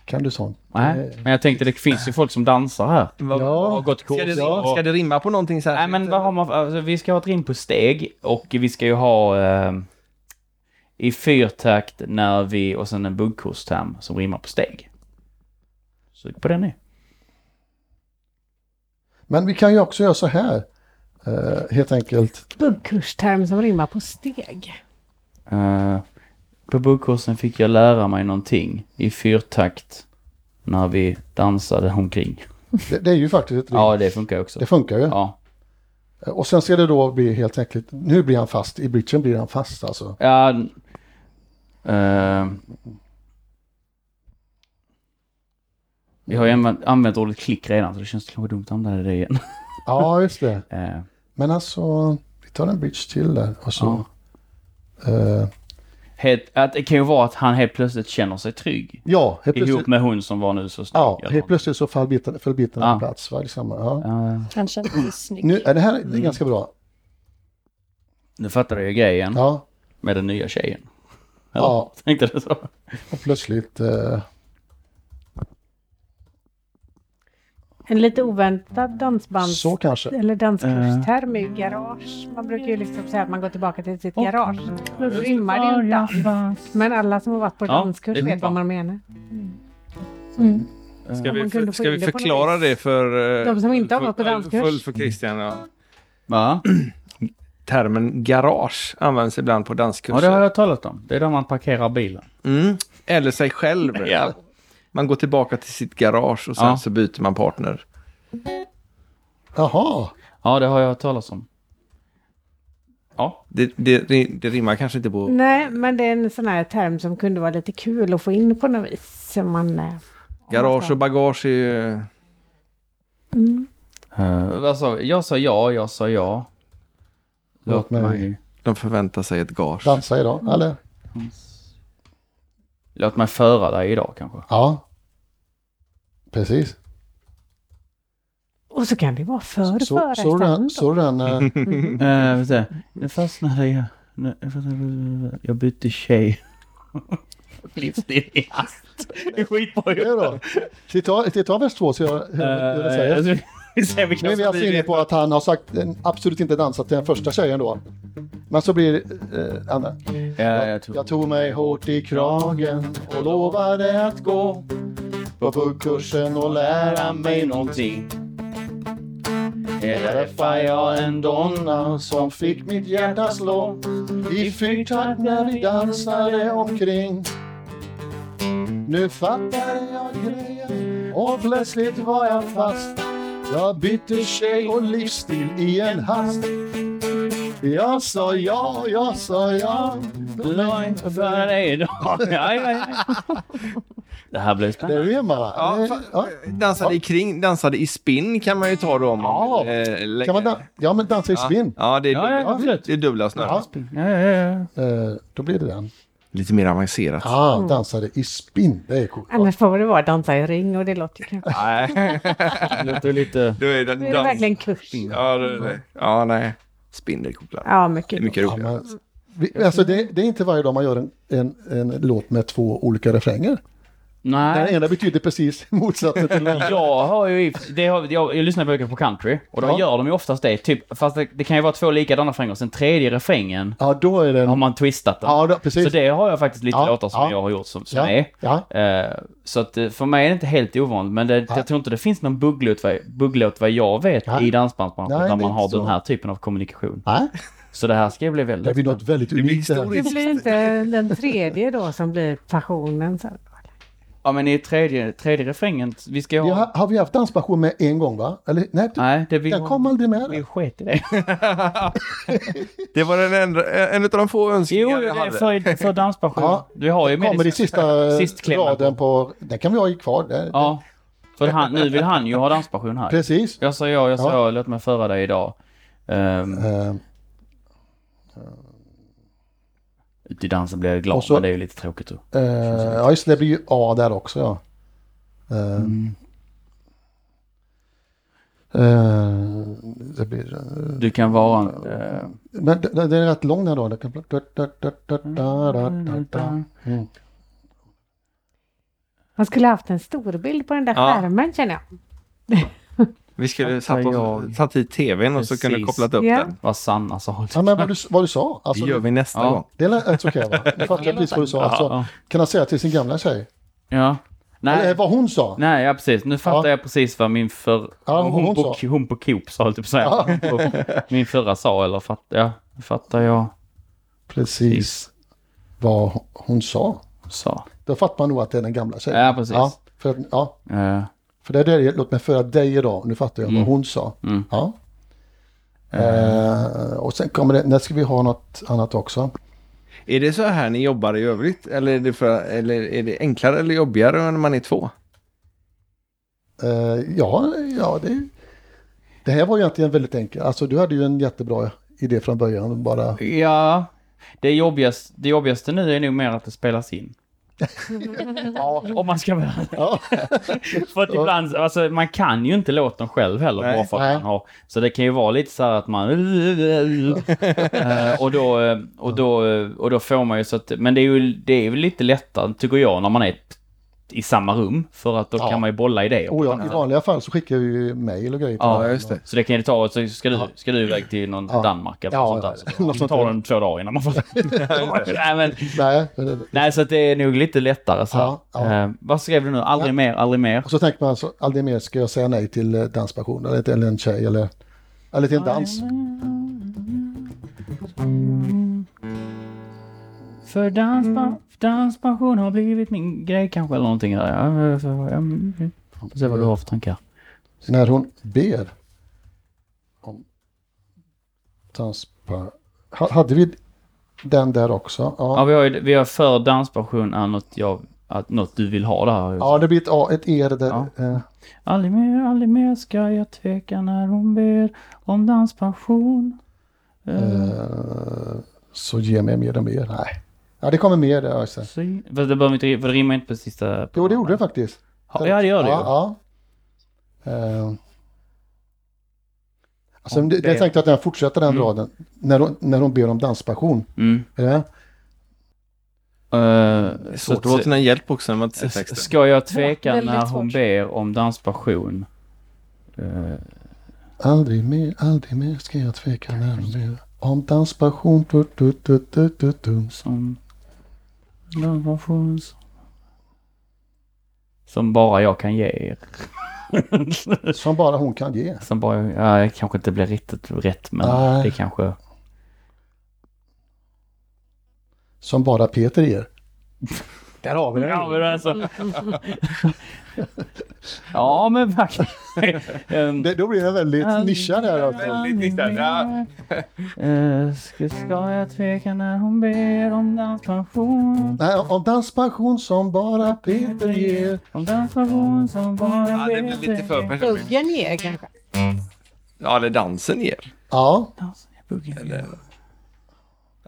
S4: Kan du sånt? Eh,
S3: Nej, men jag tänkte det finns ju folk som dansar här.
S2: Vad-
S3: Och har
S4: Ja,
S3: gått
S2: Ska det,
S3: kurs.
S2: rim-
S3: och-
S2: ska det rimma på någonting
S3: Nej
S2: särskilt?
S3: men vad har man för, alltså, vi ska ha ett rim på steg och vi ska ju ha eh, i fyrtakt när vi och sen en buggkursterm som rimmar på steg. Sug på den nu.
S4: men vi kan ju också göra så här. Eh, helt enkelt.
S1: Buggkursterm som rimmar på steg.
S3: Eh, på buggkursen fick jag lära mig någonting i fyrtakt när vi dansade omkring.
S4: Det, det är ju faktiskt ett rim.
S3: Ja, det funkar ju också.
S4: Det funkar ju.
S3: Ja.
S4: Eh, Och sen ska det då bli helt enkelt. Nu blir han fast. I bridgen blir han fast alltså.
S3: Ja. eh, vi har ju använt, använt ordet klick redan så det känns kanske dumt att använda det igen.
S4: Ja, just det.
S3: Eh,
S4: Men alltså, vi tar en bridge till där. Och så.
S3: Ja.
S4: eh,
S3: helt, att det kan ju vara att han helt plötsligt känner sig trygg.
S4: ja helt plötsligt.
S3: Ihop med hon som var nu så snygg.
S4: Ja,
S3: Eller-
S4: helt plötsligt så föll bitarna, föll bitarna
S3: Ja.
S4: på plats. Va? Liksom, ja.
S3: Eh,
S5: Han kände sig snygg.
S4: Nu är det här det är ganska bra.
S3: nu fattar jag ju grejen
S4: Ja,
S3: med den nya tjejen. Eller?
S4: ja.
S3: Tänkte du så?
S4: och plötsligt... Eh,
S1: En lite oväntad dansbands...
S4: Så kanske.
S1: Eller danskursterm är ju garage. Man brukar ju liksom säga att man går tillbaka till sitt garage. Då rimmar det ju inte alls. Men alla som har varit på
S3: Ja,
S1: danskurs
S3: det är
S1: vet
S3: bra.
S1: vad man menar.
S5: Mm.
S6: Ska
S1: Om
S6: vi,
S1: man kunde
S6: för,
S1: få
S6: ska
S1: in
S6: vi
S1: det på något
S6: förklara
S1: vis.
S6: det för... eh,
S1: De som inte har
S6: för-
S1: gått på danskurs.
S6: Full för Christian, ja.
S3: Va?
S6: Termen garage används ibland på
S3: Ja,
S6: danskurser.
S3: det har jag talat om. Det är där man parkerar bilen.
S6: mm. Eller sig själv.
S3: Ja.
S6: Man går tillbaka till sitt garage och sen
S3: Ja.
S6: så byter man partner.
S4: Jaha,
S3: Ja, det har jag talat om. Ja.
S6: Det, det, det, det rimmar kanske inte på...
S1: Nej, men det är en sån här term som kunde vara lite kul att få in på något vis. Som man... eh,
S6: Garage och bagage är ju...
S1: Mm.
S3: Eh, vad sa vi? jag sa ja, jag sa ja.
S4: Låt mig-
S6: De förväntar sig ett gage.
S4: dansa idag, eller?
S3: Låt mig föra dig idag kanske.
S4: Ja. Precis.
S1: Och så kan det vara för
S4: Så, så den,
S1: förestånd.
S4: så den, eh,
S3: Eh, vi ser. Nu fastnade jag. Nu- jag fastnade- Jag bytte tjej. Livsstil i hast. Det är skitbra
S4: det då. Titta, titta av vers två så jag hur, hur det säger.
S3: gjort. Vi ser vilka
S4: Nu är vi
S3: som
S4: alltså
S3: blir
S4: inne
S3: det.
S4: på att han har sagt eh, absolut inte dansat till den första tjejen då. Men så blir eh, andra.
S3: Ja, jag
S4: jag,
S3: tror-
S4: jag tog mig hårt i kragen och lovade att gå på puckkursen och lära mig någonting. Där träffade jag en donna som fick mitt hjärta slå i fyrtakt när vi dansade omkring. Nu fattade jag grejen och plötsligt var jag fast. Jag bytte tjej och livsstil i en hast. Jag sa ja, jag sa ja.
S3: Låt mig föra dig idag. Ja, ja, ja. Det här blir spännande.
S4: Det rimmar va?
S6: Ja,
S4: Det- ja.
S6: fa- dansade i kring, dansade i spinn kan man ju ta då om
S4: Ja.
S6: eh,
S4: Kan man dan- ja, men dansa i spinn.
S6: Ja, det är,
S3: Ja, ja,
S6: dubbla-
S3: absolut.
S6: det är dubbla snören.
S4: Ja.
S3: Ja, ja, ja.
S4: Eh, då blir det den.
S6: Lite mer avancerat.
S4: Ah, dansade i spinn. Det är coolt.
S1: Annars får det vara dansa i ring och det låter ju kanske...
S6: Nej,
S3: Det låter lite...
S6: då är det,
S1: Nu är det verkligen kurs.
S6: Ja, det, det. ja, nej. Spindelkopplar.
S1: Ja,
S6: Det är
S1: mycket.
S6: mycket
S4: Ja,
S6: roligare.
S4: men, vi, alltså det, det är inte varje dag man gör en, en, en låt med två olika refränger. Den
S3: Nej.
S4: ena betyder precis motsatsen till den andra.
S3: Jag har ju... i- Det har, jag, jag lyssnar mycket på country. Och då
S4: Ja.
S3: gör de ju oftast det. Typ, fast det, det kan ju vara två likadana refränger. Sen tredje refrängen
S4: Ja, då är
S3: har
S4: den...
S3: man twistat den.
S4: Ja, då, precis.
S3: Så det har jag faktiskt lite
S4: Ja,
S3: låtar som
S4: ja.
S3: jag har gjort som, som
S4: ja,
S3: är.
S4: ja.
S3: Eh, så att eh, för mig är det inte helt ovanligt, men det, jag tror inte det finns någon bugglåt vad, bugglåt vad jag vet
S4: Nej.
S3: i dansbandsbranschen
S4: Nej,
S3: där
S4: det är
S3: man har
S4: inte
S3: den
S4: så.
S3: här typen av kommunikation.
S4: Nej,
S3: Så det här ska ju bli
S4: det
S3: väldigt...
S4: blir något väldigt unikt. Det här.
S1: Det blir inte den tredje då som blir passionen sen.
S3: Ja men i tredje, tredje refrängen, vi ska ju ha...
S4: Vi har, har vi haft danspassion med en gång va? Eller, nej,
S3: Nej, det vi,
S4: den kom aldrig
S3: vi
S4: med.
S3: sket i det.
S6: Det var den enda, en utav de få
S3: Jo,
S6: önskningar
S3: det
S6: jag
S3: är
S6: hade.
S3: för, för danspassion.
S4: Ja,
S3: du har ju med
S4: Kommer i
S3: dig-
S4: sista
S3: Sist klämmer.
S4: raden på... Den kan vi ha i kvar. Det-
S3: Ja. För han, nu vill han ju ha danspassion här.
S4: Precis.
S3: Jag sa ja, jag sa
S4: Ja.
S3: ja, låt mig föra dig idag. Um,
S4: Eh,
S3: ut i dansen blir jag glad,
S4: Och så-
S3: men det är ju lite tråkigt då.
S4: Eh, ja, just det, det blir ju A där också ja. Eh, eh, det blir... eh,
S3: Du kan vara... eh,
S4: Men den, den är rätt lång den då. Den kan- da- da- da- da- da- da- da- da. Mm.
S1: Man skulle haft en stor bild på den där
S6: Ja.
S1: skärmen känner jag.
S6: Vi skulle satt,
S3: jag-
S6: oss, satt i tvn och så
S3: Precis.
S6: kunde vi kopplat upp
S1: Ja.
S6: den.
S3: Vad Sanna sa.
S4: Ja, men vad du, vad du sa.
S6: Det
S4: Alltså,
S6: gör vi nästa
S3: Ja.
S6: gång.
S4: Det lät rätt så okej va? Jag fattar precis vad du sa. Alltså,
S3: Ja.
S4: kan han säga till sin gamla tjej?
S3: Ja. Nej,
S4: Eller vad hon sa?
S3: nej ja, precis. Nu fattar
S4: Ja.
S3: jag precis vad min för...
S4: Ja, hon
S3: hon, på,
S4: sa.
S3: hon på Coop sa, höll jag typ säga. Och Min förra sa, eller fatt, ja, fattar jag
S4: Precis vad hon sa.
S3: sa.
S4: Då fattar man nog att det är den gamla tjejen.
S3: Ja, precis.
S4: Ja, för, ja,
S3: Eh,
S4: för det där är, låt mig föra dig idag. Nu fattar jag vad hon sa.
S3: Mm.
S4: Ja. Eh, och sen kommer det, när ska vi ha något annat också?
S6: Är det så här ni jobbar i övrigt? Eller är det, för, eller är det enklare eller jobbigare när man är två?
S4: Eh, ja, ja det, det här var ju egentligen väldigt enkelt. Alltså du hade ju en jättebra idé från början. Bara,
S3: ja, det jobbigaste, det jobbigaste nu är nog mer att det spelas in. Om man ska vara
S4: ja,
S3: För att ibland, alltså man kan ju inte låten själv heller
S6: Nej.
S3: bara för att
S4: Nej.
S3: man har. Så det kan ju vara lite så här att man... Eh, och, då, eh, och, då, eh, och då får man ju så att... Men det är ju, det är ju lite lättare, tycker jag, när man är i samma rum. För att då
S4: Ja.
S3: kan man ju bolla idéer.
S4: Oh, ja, I vanliga fall så skickar vi ju mejl och grejer. på
S3: Ja,
S4: den.
S6: just det.
S3: Så det kan ju ta, så ska du, ska du iväg till någon
S4: Ja.
S3: Danmark eller
S4: Ja,
S3: sånt
S4: ja,
S3: där.
S4: ja.
S3: Så tar den två dagar innan man får... nej, men,
S4: Nej, eh, det- det-
S3: nej, så att det är nog lite lättare så här.
S4: Ja, ja.
S3: Eh, Vad skrev du nu? Aldrig
S4: Ja.
S3: mer, aldrig mer.
S4: Och så tänker man alltså, aldrig mer ska jag säga nej till eh, danspassion eller till eller en tjej eller, eller till en dans.
S3: För danspa, danspassion har blivit min grej kanske eller någonting. Där. Ja, för- jag- Får se vad du har för tankar.
S4: När hon ber om danspassion. Hade vi den där också?
S3: Ja,
S4: Ja,
S3: vi har, ju- vi har för danspassion är något, jag, att, något du vill ha där.
S4: ja det blir ett, A, ett E där.
S3: Ja.
S4: eh,
S3: Aldrig mer, aldrig mer ska jag tveka när hon ber om danspassion.
S4: eh, så ge mig mer och mer. Nej. Ja, det kommer mer där. Alltså.
S3: Fast det, behöver inte, för det rimmar inte på sista...
S4: Jo, det gjorde det faktiskt.
S3: Ja, ja, det gör det ju.
S4: Ja, ja. Eh, Alltså,
S3: Ja,
S4: det,
S3: det-
S4: jag tänkte att den fortsätter den
S3: Mm.
S4: raden. När hon, när hon ber om danspassion.
S3: Mm.
S4: Är det?
S3: Eh,
S6: Det är
S3: så
S6: svårt att vara
S3: att-
S6: till någon hjälp också när man inte ser texten.
S3: Ska jag tveka
S5: Ja, väldigt
S3: när hon
S5: svårt.
S3: ber om danspassion? Eh,
S4: Aldrig mer, aldrig mer ska jag tveka när hon ber om danspassion. Du, du, du, du, du, du.
S3: som... Danspassion som... Som bara jag kan ge er.
S4: Som bara hon kan ge.
S3: Som bara... Ja, det kanske inte blir riktigt rätt men
S4: Nej.
S3: det kanske...
S4: Som bara Peter ger.
S6: Där har vi
S3: Ja, men alltså... ja, men faktiskt. Ehm,
S4: Det, då blir det väldigt nischad här. alltså.
S6: Väldigt nischad, ja.
S3: Eh, Ska, Mm. ska jag tveka när hon ber om danspassion?
S4: Nej, om danspassion som bara Peter ger.
S3: Om danspassion som bara
S6: Ja, det blir lite för personligt.
S1: Pluggen ger kanske.
S6: Ja, eller dansen ger.
S4: Ja,
S3: Dansen är buggen.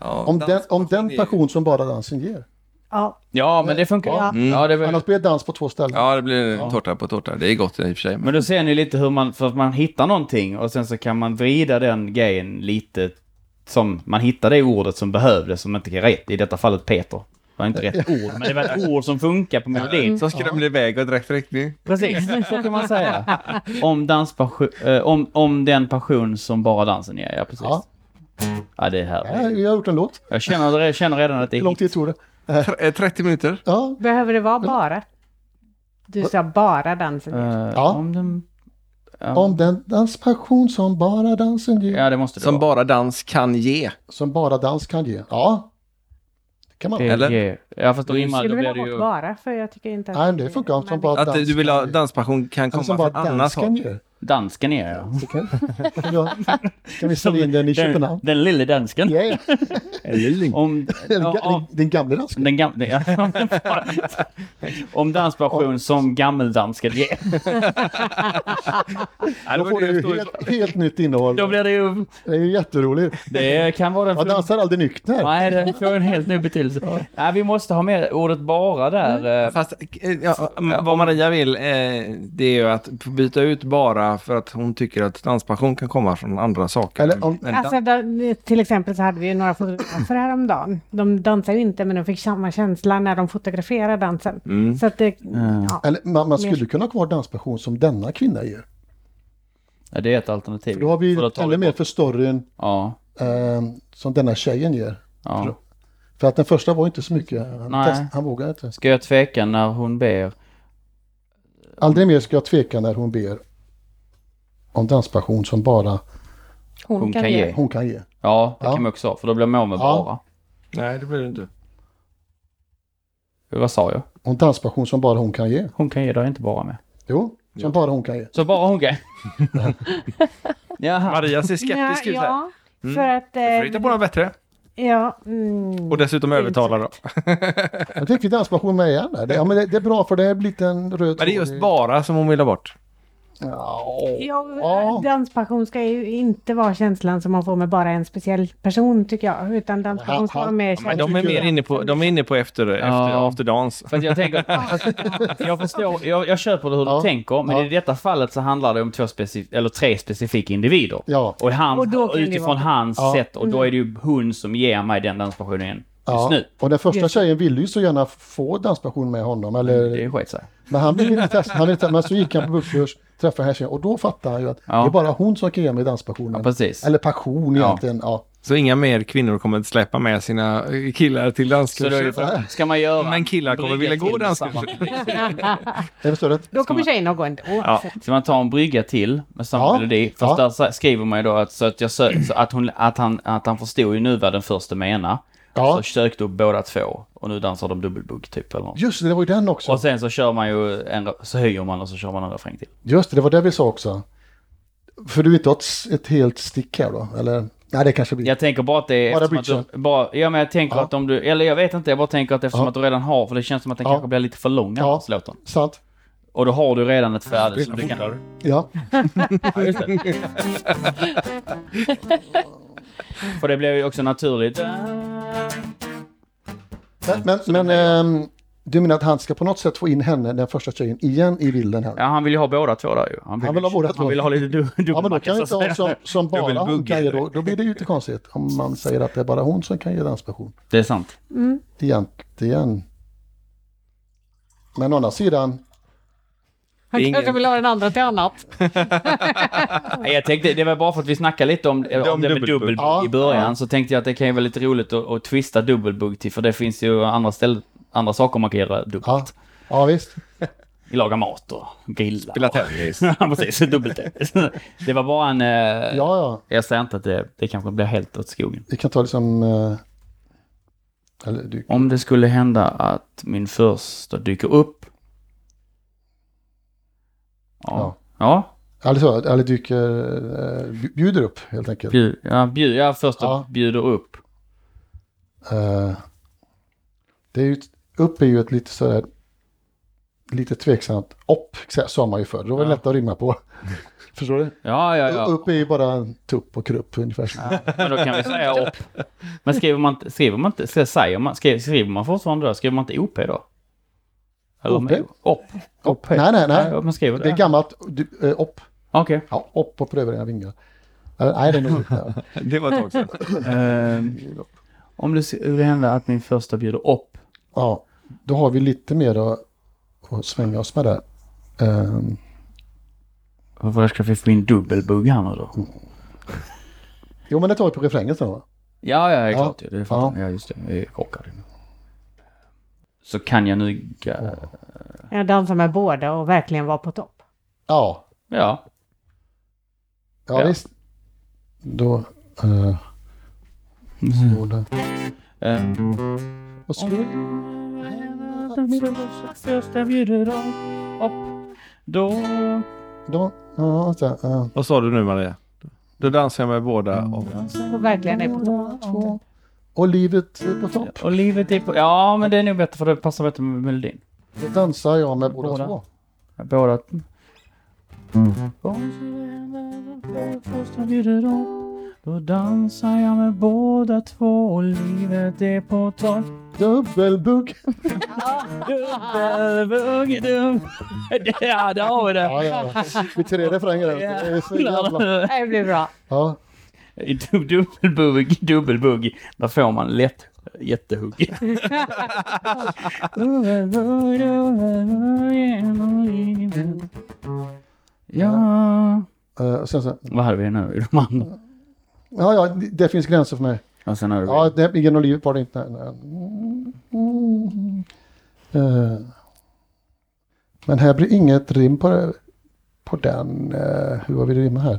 S6: Ja,
S4: om den, om
S6: danspassion
S4: den
S6: ger.
S4: passion som bara dansen ger.
S1: Ja,
S3: Ja, men det funkar.
S4: Ja.
S3: Mm. Ja, det är väl...
S4: Annars blir det dans på två ställen.
S6: Ja, det blir tårta på tårta. Det är gott i och för sig. Men
S3: Men då ser ni lite hur man, för att man hittar någonting och sen så kan man vrida den grejen lite som man hittar det ordet som behövdes som inte är rätt. I detta fallet Peter. Det var inte rätt ord, men det var ett ord som funkar på melodin.
S6: så skrämde iväg åt rätt riktning.
S3: Precis, så kan man säga. Om, danspassion, eh, om, om den passion som bara dansen ger, ja precis. Ja,
S4: Ja.
S3: det är här.
S4: Nej, vi har gjort en låt.
S3: Jag känner, jag känner redan att det
S4: Hur
S3: är
S4: lång tid tog det?
S6: Tr- eh, 30 minuter.
S4: Ja,
S1: behöver det vara bara? Du sa bara dansen. ger.
S3: Eh,
S4: Ja.
S3: Om den... Ja.
S4: om den danspassion som bara dansen ger.
S3: ja, det måste det
S6: Som
S3: vara.
S6: bara dans kan ge.
S4: Som bara dans kan ge. Ja, det kan man.
S3: Det
S6: eller?
S3: ger- Ja, fast då rimmar
S1: Skulle vilja
S3: då blir det
S1: ha bort
S3: ju...
S1: bara, för jag tycker inte att...
S4: Nej, det funkar som
S1: men
S4: bara-
S6: Att
S4: Dans
S6: du vill ha
S4: kan ge.
S6: danspassion kan
S4: Eller som
S6: komma
S4: bara
S6: från annat
S4: dans kan
S6: håll.
S4: ge.
S3: Dansken är ja.
S4: Det Kan, kan, jag, kan vi sälja in den i
S3: Den,
S4: Köpenhamn?
S3: den lille dansken.
S4: Ja, ja.
S3: Om,
S4: Den,
S3: ja,
S4: ga-
S3: ja,
S4: den, den gamla dansken.
S3: den gamla... Ja. Om danspassion som gammeldansken ger.
S6: Ja,
S4: Då
S6: det
S4: får
S6: var
S4: du
S6: det jag
S4: ju
S6: stod-
S4: helt, helt nytt innehåll.
S3: Då blir det ju...
S4: Det är ju jätteroligt.
S3: Det kan vara den...
S4: Man dansar aldrig nykter.
S3: Nej, det får en helt ny betydelse. Nej, vi måste ha med ordet bara där. eh,
S6: Fast eh, ja, m- vad Maria vill, eh, det är ju att byta ut bara för att hon tycker att danspassion kan komma från andra saker.
S4: Eller om-
S6: Men
S1: Alltså, då, till exempel så hade vi ju några fotografer häromdagen. De dansar ju inte, men de fick samma känsla när de fotograferade dansen.
S3: Mm.
S1: Så att det... Ja.
S4: Eh, Eller man, man skulle kunna ha kvar danspassion som denna kvinna ger.
S3: Ja, det är ett alternativ.
S4: För då har vi
S3: För då tar
S4: ännu mer för storyn
S3: Ja.
S4: eh, som denna tjejen ger.
S3: ja.
S4: För att den första var inte så mycket. Han,
S3: Nej.
S4: test, han vågade inte.
S3: Ska jag tveka när hon ber?
S4: Aldrig mer ska jag tveka när hon ber om danspassion som bara
S5: Hon,
S3: Hon
S5: kan,
S3: kan
S5: ge.
S3: ge.
S4: hon kan ge.
S3: Ja, det
S4: Ja.
S3: kan man också ha, för då blir man av med
S4: Ja.
S3: bara.
S6: Nej, det blir det inte.
S3: Vad sa jag?
S4: Om danspassion som bara hon kan ge.
S3: Hon kan ge dig inte bara med.
S4: Jo, som bara hon kan ge.
S3: Så bara hon kan? Jaha.
S6: Maria ser skeptisk ut här.
S1: ja, för att...
S6: Mm.
S1: eh,
S6: Du får hitta på något bättre.
S1: ja, mm,
S6: Och dessutom övertala då.
S4: Jag fick vi danspassion med igen. Där. Det, ja, men det, det är bra för det är en liten röd
S6: Men det är
S4: tråd
S6: just
S4: i-
S6: bara som hon vill ha bort.
S4: Ja,
S1: Ja,
S4: Ja.
S1: danspassion ska ju inte vara känslan som man får med bara en speciell person tycker jag. Utan danspassion ska
S4: Ja,
S1: vara mer
S4: men
S6: Men
S1: känslan.
S6: de är mer inne på, de är inne på efter, efter
S3: Ja.
S6: after dance.
S3: För att jag tänker, jag förstår, jag, jag köper hur
S4: Ja.
S3: du tänker, men
S4: Ja.
S3: i detta fallet så handlar det om två specif- eller tre specifika individer.
S4: ja.
S3: Och, han,
S1: Och
S3: och
S1: då kan det
S3: utifrån
S1: vara- Mm.
S3: hans
S4: Ja.
S3: sätt, och då är det ju hon som ger mig den danspassionen. just nu.
S4: Och den första
S1: Just.
S4: tjejen ville ju så gärna få danspassion med honom.
S3: Det
S4: Eller,
S3: är skit sig.
S4: men han ville inte testa. Han ville inte, men så gick han på buskurs, träffade den här tjejen och då fattade han ju att
S3: Ja.
S4: det är bara hon som kan ge mig danspassionen.
S3: Ja, precis.
S4: eller passion
S3: Ja.
S4: egentligen. Ja.
S6: Så inga mer kvinnor kommer att släppa med sina eh, killar till
S3: Så då är det
S6: danskurser.
S3: för, ska man göra...
S6: Men killar kommer
S3: brygga
S6: vilja gå
S3: till
S6: danskurser.
S3: samma-
S4: Jag förstår det.
S1: Då kommer tjejerna att gå ändå.
S6: Ja.
S3: Ska man ta en brygga till med samma
S4: Ja.
S3: melodi? Fast
S4: Ja.
S3: där så- skriver man ju då att, så att, jag sö- så att, hon, att, han, att han förstod ju nu vad den första menar.
S4: Ja.
S3: Så sökte upp båda två och nu dansar de dubbelbugg typ eller något.
S4: Just det, det var ju den också.
S3: Och sen så kör man ju en, re- så höjer man och så kör man en refräng till.
S4: Just det, det var det vi sa också. För du inte har ett, s- ett helt stick här då? Eller? Nej, det kanske blir...
S3: Jag tänker bara att det är...
S4: Bara
S3: eftersom att du, bara, ja men jag tänker
S4: Ja.
S3: att om du, eller jag vet inte, jag bara tänker att eftersom
S4: Ja.
S3: att du redan har, för det känns som att den
S4: Ja.
S3: kanske blir lite för lång
S4: Ja.
S3: ja. låten.
S4: Sant?
S3: Och då har du redan ett färdigt. Så du kan,
S4: Ja.
S3: för det blir ju också naturligt.
S4: Men, men, men ehm, du menar att han ska på något sätt få in henne, den första tjejen, igen i bilden här?
S3: Ja, han vill ju ha båda två där ju.
S4: Han vill ha båda två.
S3: Han vill ha lite du,
S4: Ja, men då
S3: dubbelmacka
S4: kan vi
S3: så
S4: inte
S3: att
S4: ha
S3: säga.
S4: som, som bara hon
S6: Dubbelbugg,
S4: kan ge
S6: eller?
S4: då. Då blir det ju inte konstigt om man säger att det är bara hon som kan ge danspassion.
S3: Det är sant.
S4: Egentligen. Men å andra sidan,
S1: Han
S6: Ingen-
S1: kanske vill ha den andra till annat.
S3: Nej, Jag tänkte, det var bara för att vi snackade lite om, om det med
S6: dubbelbugg.
S3: dubbelbugg
S4: Ja.
S3: i början. Så tänkte jag att det kan ju vara lite roligt att, att twista dubbelbugg till. För det finns ju andra ställen, andra saker man kan göra dubbelt.
S4: ja, ja visst.
S3: Laga mat och grilla.
S6: Spela tennis.
S3: Ja, precis. Dubbeltennis. Det var bara en... eh,
S4: Ja, ja.
S3: Jag säger inte att det, det kanske blir helt åt skogen.
S4: Vi kan ta liksom... eh, Eller du,
S3: Om det skulle hända att min första dyker upp. Ja.
S4: Ja.
S3: Ja,
S4: eller, så, eller dyker... eh, bj- Bjuder upp helt enkelt.
S3: bjud, ja, bjud, ja första
S4: Ja.
S3: bjuder upp.
S4: Eh, det är ju, ett- upp är ju ett lite sådär, lite tveksamt opp, sa man ju förr. Det var
S3: Ja.
S4: lätt att rimma på. Förstår du?
S3: Ja, ja, ja.
S4: Upp är ju bara en tupp och krupp ungefär. så.
S3: Men då kan vi säga upp. Men skriver man inte, skriver man inte, så säger man, skriver, skriver man fortfarande då? Skriver man inte OP då? Eller
S4: OP?
S3: med- Upp?
S4: Upp. Nej, nej, nej.
S3: Ja, man skriver det.
S4: Det är gammalt, du, eh, opp.
S3: Okej.
S4: Ja, opp och pröva dina vingar. Eller, nej, det är nog inte.
S6: Det var ett tag sedan.
S3: Ehm, om det skulle hända att min första bjuder upp.
S4: Ja, då har vi lite mer att, att svänga oss med där. Ehm,
S3: Varför ska vi få in dubbelbugg här nu då?
S4: jo, men det tar vi på refrängen sen va?
S3: Ja, ja, det är
S4: Ja.
S3: klart. Ja. Det fattar jag. Ja, just det. Jag är chockad. Så kan jag nu... ga-
S1: Jag dansar med båda och verkligen vara på topp.
S4: Ja,
S3: Ja.
S4: ja,
S3: Ja.
S4: visst. Då... eh, så där.
S3: Ehm,
S4: Och så-
S3: första bjuder upp. Då...
S4: Då, ja, så, ja.
S6: Vad sa du nu Maria? Då dansar jag med båda. Och...
S1: Och verkligen är på topp.
S4: eh, två. Och livet är på topp.
S3: Och livet är på... Ja, men det är nog bättre för det passar bättre med melodin.
S4: Då dansar jag med båda,
S3: Båda.
S4: två.
S3: Båda... Om det händer att Första bjuder upp. Då dansar jag med båda två och livet är på topp.
S4: Dubbelbugg.
S3: Dubbelbugg, dubbel... Ja, där har vi det.
S4: Ja, ja. ja. Vi tre refränger där. Det är så jävla...
S1: Det blir bra.
S4: Ja,
S3: I dub- Dubbelbugg, dubbelbugg. Där får man lätt jättehugg. Dubbelbugg, dubbelbugg, genom livet. Ja...
S4: eh, och sen så.
S3: Vad hade vi nu i de andra?
S4: Ja, ja, det finns gränser för mig.
S3: Ja, sen hade vi...
S4: Ja, det ligger nog livet var det inte. Nej, nej. Mm. Eh, Men här blir inget rim på, det- på den. eh, Hur har vi rimma här?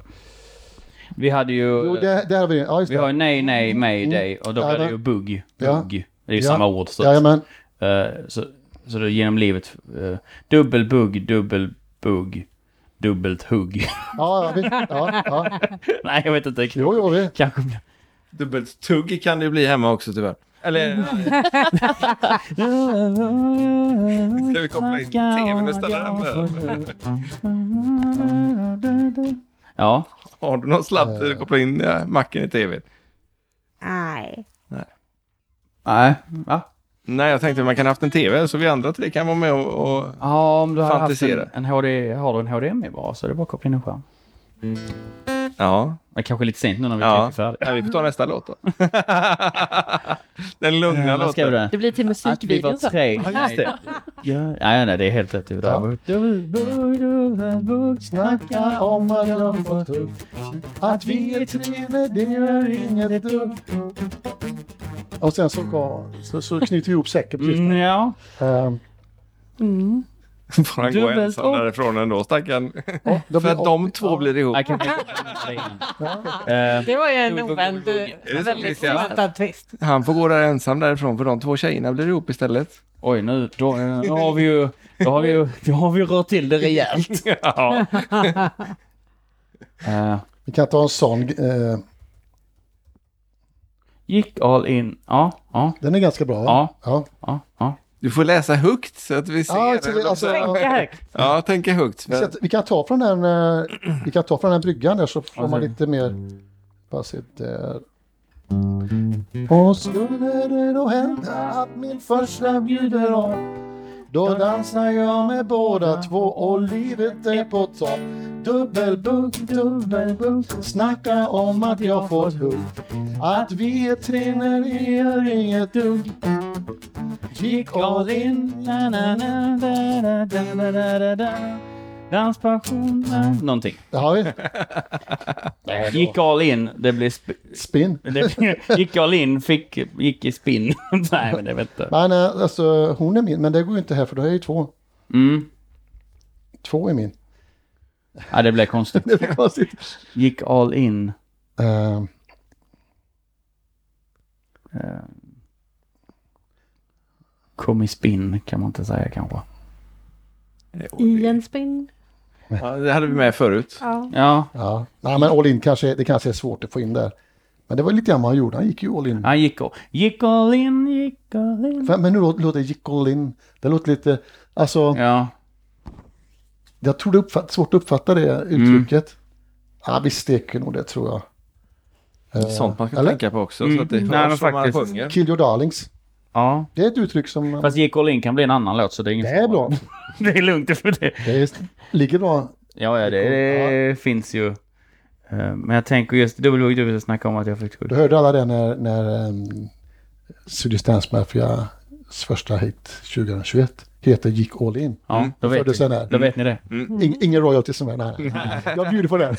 S3: Vi hade ju...
S4: Jo, det, det har Eh. vi. Ja, just
S3: Vi har
S4: det.
S3: ju nej, nej, nej, dig och då
S4: Ja,
S3: blir det
S4: det-
S3: ju bugg.
S4: Ja.
S3: Bugg. Det är ju
S4: Ja.
S3: samma ord. Så, att,
S4: Jajamän.
S3: eh, så, så då genom livet... eh, dubbel bugg, dubbel bugg, dubbelt hugg.
S4: Ja, ja, vi, ja, ja.
S3: nej, jag vet inte.
S4: Jo, jo, vi.
S3: Kanske...
S6: Dubbelt tugg kan det bli hemma också tyvärr. Eller ska vi koppla in tvn och ställa den där?
S3: Ja,
S6: Har du någon slapp till att koppla in eh, macken i tvn?
S1: Nej.
S3: nej, va?
S6: Nej, jag tänkte man kan ha haft en tv så vi andra tre kan vara med och... och...
S3: Ja, om du har haft en,
S6: Fantisera.
S3: en HD, har du en HDMI bara så är det bara att koppla in en skärm.
S2: Ja.
S3: Men kanske lite sent nu när vi
S2: Ja.
S3: är färdiga.
S2: ja, vi får ta nästa låt då. Den lugna
S3: Vad skrev
S2: låten.
S3: du? där?
S5: Det blir till
S3: Att vi
S5: musikvideon
S3: var
S5: sen.
S3: tre. Ja, just det. Ja, nej, nej, det är helt rätt. Det var
S4: Snacka om att de var tuff. Att vi är tre, men det gör inget dugg. Och sen så, går- så, så knyter vi ihop säcken precis.
S3: Mm, ja.
S4: Ehm,
S5: Mm.
S2: Får han gå
S3: Dubbelt
S2: ensam
S3: upp.
S2: därifrån ändå, stackarn.
S4: ja,
S2: För
S4: då blir-
S2: att de två blir ihop.
S3: Jag kan inte- Eh,
S1: Det var ju en
S3: Jo, jo,
S1: ovänt,
S3: jo, jo.
S2: Är det så,
S1: väldigt
S2: Christian?
S1: oväntad twist.
S2: Han får gå där ensam därifrån för de två tjejerna blir ihop istället.
S3: Oj, nu då, eh, då har vi ju... Då har vi ju då har vi rört till det rejält.
S2: Ja.
S3: Eh,
S4: Vi kan ta en sån. eh,
S3: gick all in. Ja, ja,
S4: den är ganska bra va?
S3: Ja.
S4: ja.
S3: ja. ja.
S2: Du får läsa högt så att vi ser.
S4: Ja, alltså, vi- alltså,
S1: Tänka högt.
S2: ja tänka högt.
S4: vi, kan, vi kan ta från den, eh, vi kan ta från den bryggan där så får man lite mer. Bara se där. Och skulle det då hända att min första bjuder om. Då dansar jag med båda två och livet är på topp. Dubbelbugg, dubbelbugg, snacka om att jag får hugg. Att vi är tre när det gör inget dugg. Gick all in, na, na, na.
S3: Danspassion, någonting.
S4: Det har vi.
S3: Gick all in, det blev... Sp-
S4: Spinn.
S3: det blev gick all in, fick, gick i spinn. Nej, men det vet
S2: Typ.
S3: inte.
S4: Nej, nej, alltså hon är min, men det går ju inte här för då är ju två.
S3: Mm.
S4: Två är min.
S3: Ja, det blev konstigt.
S4: Det blir konstigt.
S3: Gick all in.
S4: Eh,
S3: Eh, kom i spinn kan man inte säga kanske.
S1: I en spinn.
S2: Ja, det hade vi med förut.
S1: Ja.
S3: Ja,
S4: ja. Nej, men all in kanske, det kanske är svårt att få in där. Men det var lite grann vad han gjorde, han gick ju all in.
S3: han gick all, gick all in, gick all in.
S4: Fan, Men nu låter låter det gick all in. Det låter lite, alltså,
S3: Ja,
S4: jag tror det är uppfatt, svårt att uppfatta det uttrycket. Ja, vi steker nog det tror jag. Eh,
S2: Mm. Sånt man ska
S4: eller?
S2: tänka på också.
S3: Mm.
S2: Så att det
S3: Nej,
S2: hörs vad
S3: men
S2: man
S3: faktiskt.
S2: sjunger.
S4: Kill your darlings.
S3: ja.
S4: Det är ett uttryck som...
S3: Fast gick all in kan bli en annan låt så det är
S4: det
S3: inget
S4: är bra.
S3: det är lugnt. det är För det.
S4: Det är, ligger bra.
S3: Ja, ja, det, det finns ju. Eh, Men jag tänker just WW snacka om att jag fick
S4: Du hörde alla det när, när um, Sydistans Mafias första hit 2021 heter Gick All In.
S3: Ja, då vet,
S4: Föddes
S3: ni,
S4: den här.
S3: då vet ni det.
S4: In, ingen royalty som är nära. Jag bjuder på den.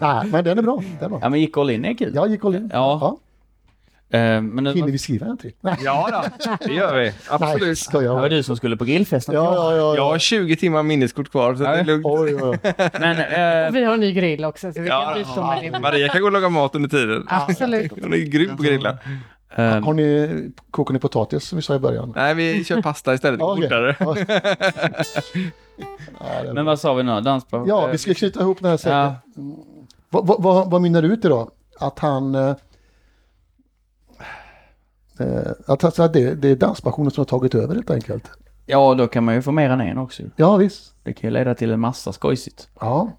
S4: Nej, men den är bra. Den är bra.
S3: Ja, men gick all in är kul.
S4: Jag gick all in.
S3: Ja. Eh, Men det
S4: Hinner
S3: var,
S4: vi skriva en till? Nej,
S2: Ja då, det gör vi.
S4: Nej,
S2: Absolut.
S4: skojar.
S3: det var
S4: Ja,
S3: du som skulle på grillfesten.
S4: ja, ja.
S2: Jag har
S4: ja.
S2: 20 timmar minneskort kvar så det är
S3: Nej.
S2: lugnt.
S4: Oj, oj, oj.
S3: Men eh,
S1: Vi har en ny grill också så vi
S2: Ja,
S1: kan byta
S2: ja.
S1: med det.
S2: Maria kan gå och laga mat under tiden.
S1: Absolut.
S2: Hon är grym på att grilla.
S3: eh,
S4: Har ni, kokar ni potatis som vi sa i början?
S2: Nej, vi kör pasta istället. Det går
S4: Ja, okej.
S2: fortare.
S4: Ja. Ja, det är
S3: men
S4: bra.
S3: vad sa vi nu? Danspå?
S4: Ja, vi ska knyta ihop den här säcken.
S3: Ja.
S4: Vad, vad, vad, vad mynnar det ut i då? Att han... Eh, eh, att alltså, att det, det är danspassionen som har tagit över helt enkelt.
S3: Ja, då kan man ju få mer än en också.
S4: Ja, visst.
S3: Det kan ju leda till en massa skojsigt.
S4: Ja.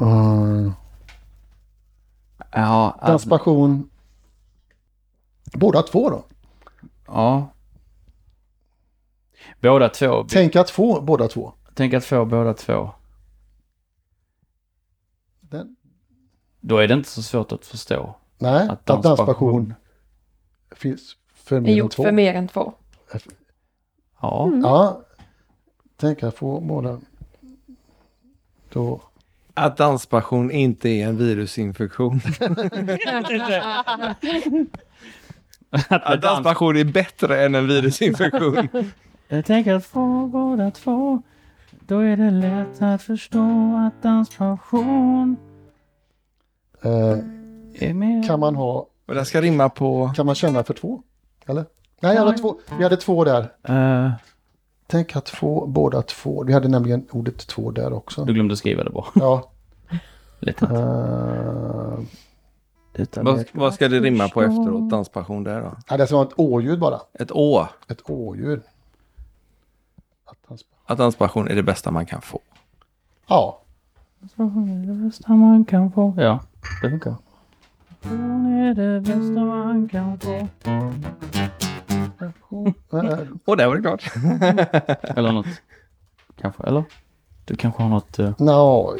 S4: Mm.
S3: Ja, alltså,
S4: Danspassion. Båda två då.
S3: ja. Båda två.
S4: Tänk att få båda två.
S3: Tänk att få båda två.
S4: Den.
S3: Då är det inte så svårt att förstå.
S4: Nej, att
S3: Att
S4: danspassion,
S3: danspassion
S4: finns för
S5: Är
S4: mer än
S5: gjort
S4: två.
S5: för mer än två.
S3: Ja.
S4: Ja. Tänk att få båda. Då.
S2: Att danspassion inte är en virusinfektion. Att danspassion är bättre än en virusinfektion.
S3: Jag tänker att få båda två. Då är det lätt att förstå att danspassion
S4: Eh,
S3: är mer...
S4: kan man ha,
S2: Och den ska rimma på...
S4: kan man känna för två? Eller? Nej, jag hade två. vi hade två där.
S3: Eh,
S4: Tänk att få båda två. Vi hade nämligen ordet två där också.
S3: du glömde skriva det bara.
S4: Ja.
S3: Lite.
S4: Eh,
S3: Utan
S2: Vad, vad ska det rimma på
S3: Förstå.
S2: efteråt, danspassion där då?
S4: nej, det ska vara ett åljud bara.
S2: Ett å.
S4: Ett åljud. Att han sp-
S2: Att danspassion är det bästa man kan få.
S4: Ja,
S3: Danspassion är det bästa man kan få. Ja, det funkar. Danspassion är det bästa man kan få.
S4: Eh, eh,
S2: Och där var det klart.
S3: Eller något. Kanske, eller? Du kanske har något... eh,
S4: Nå,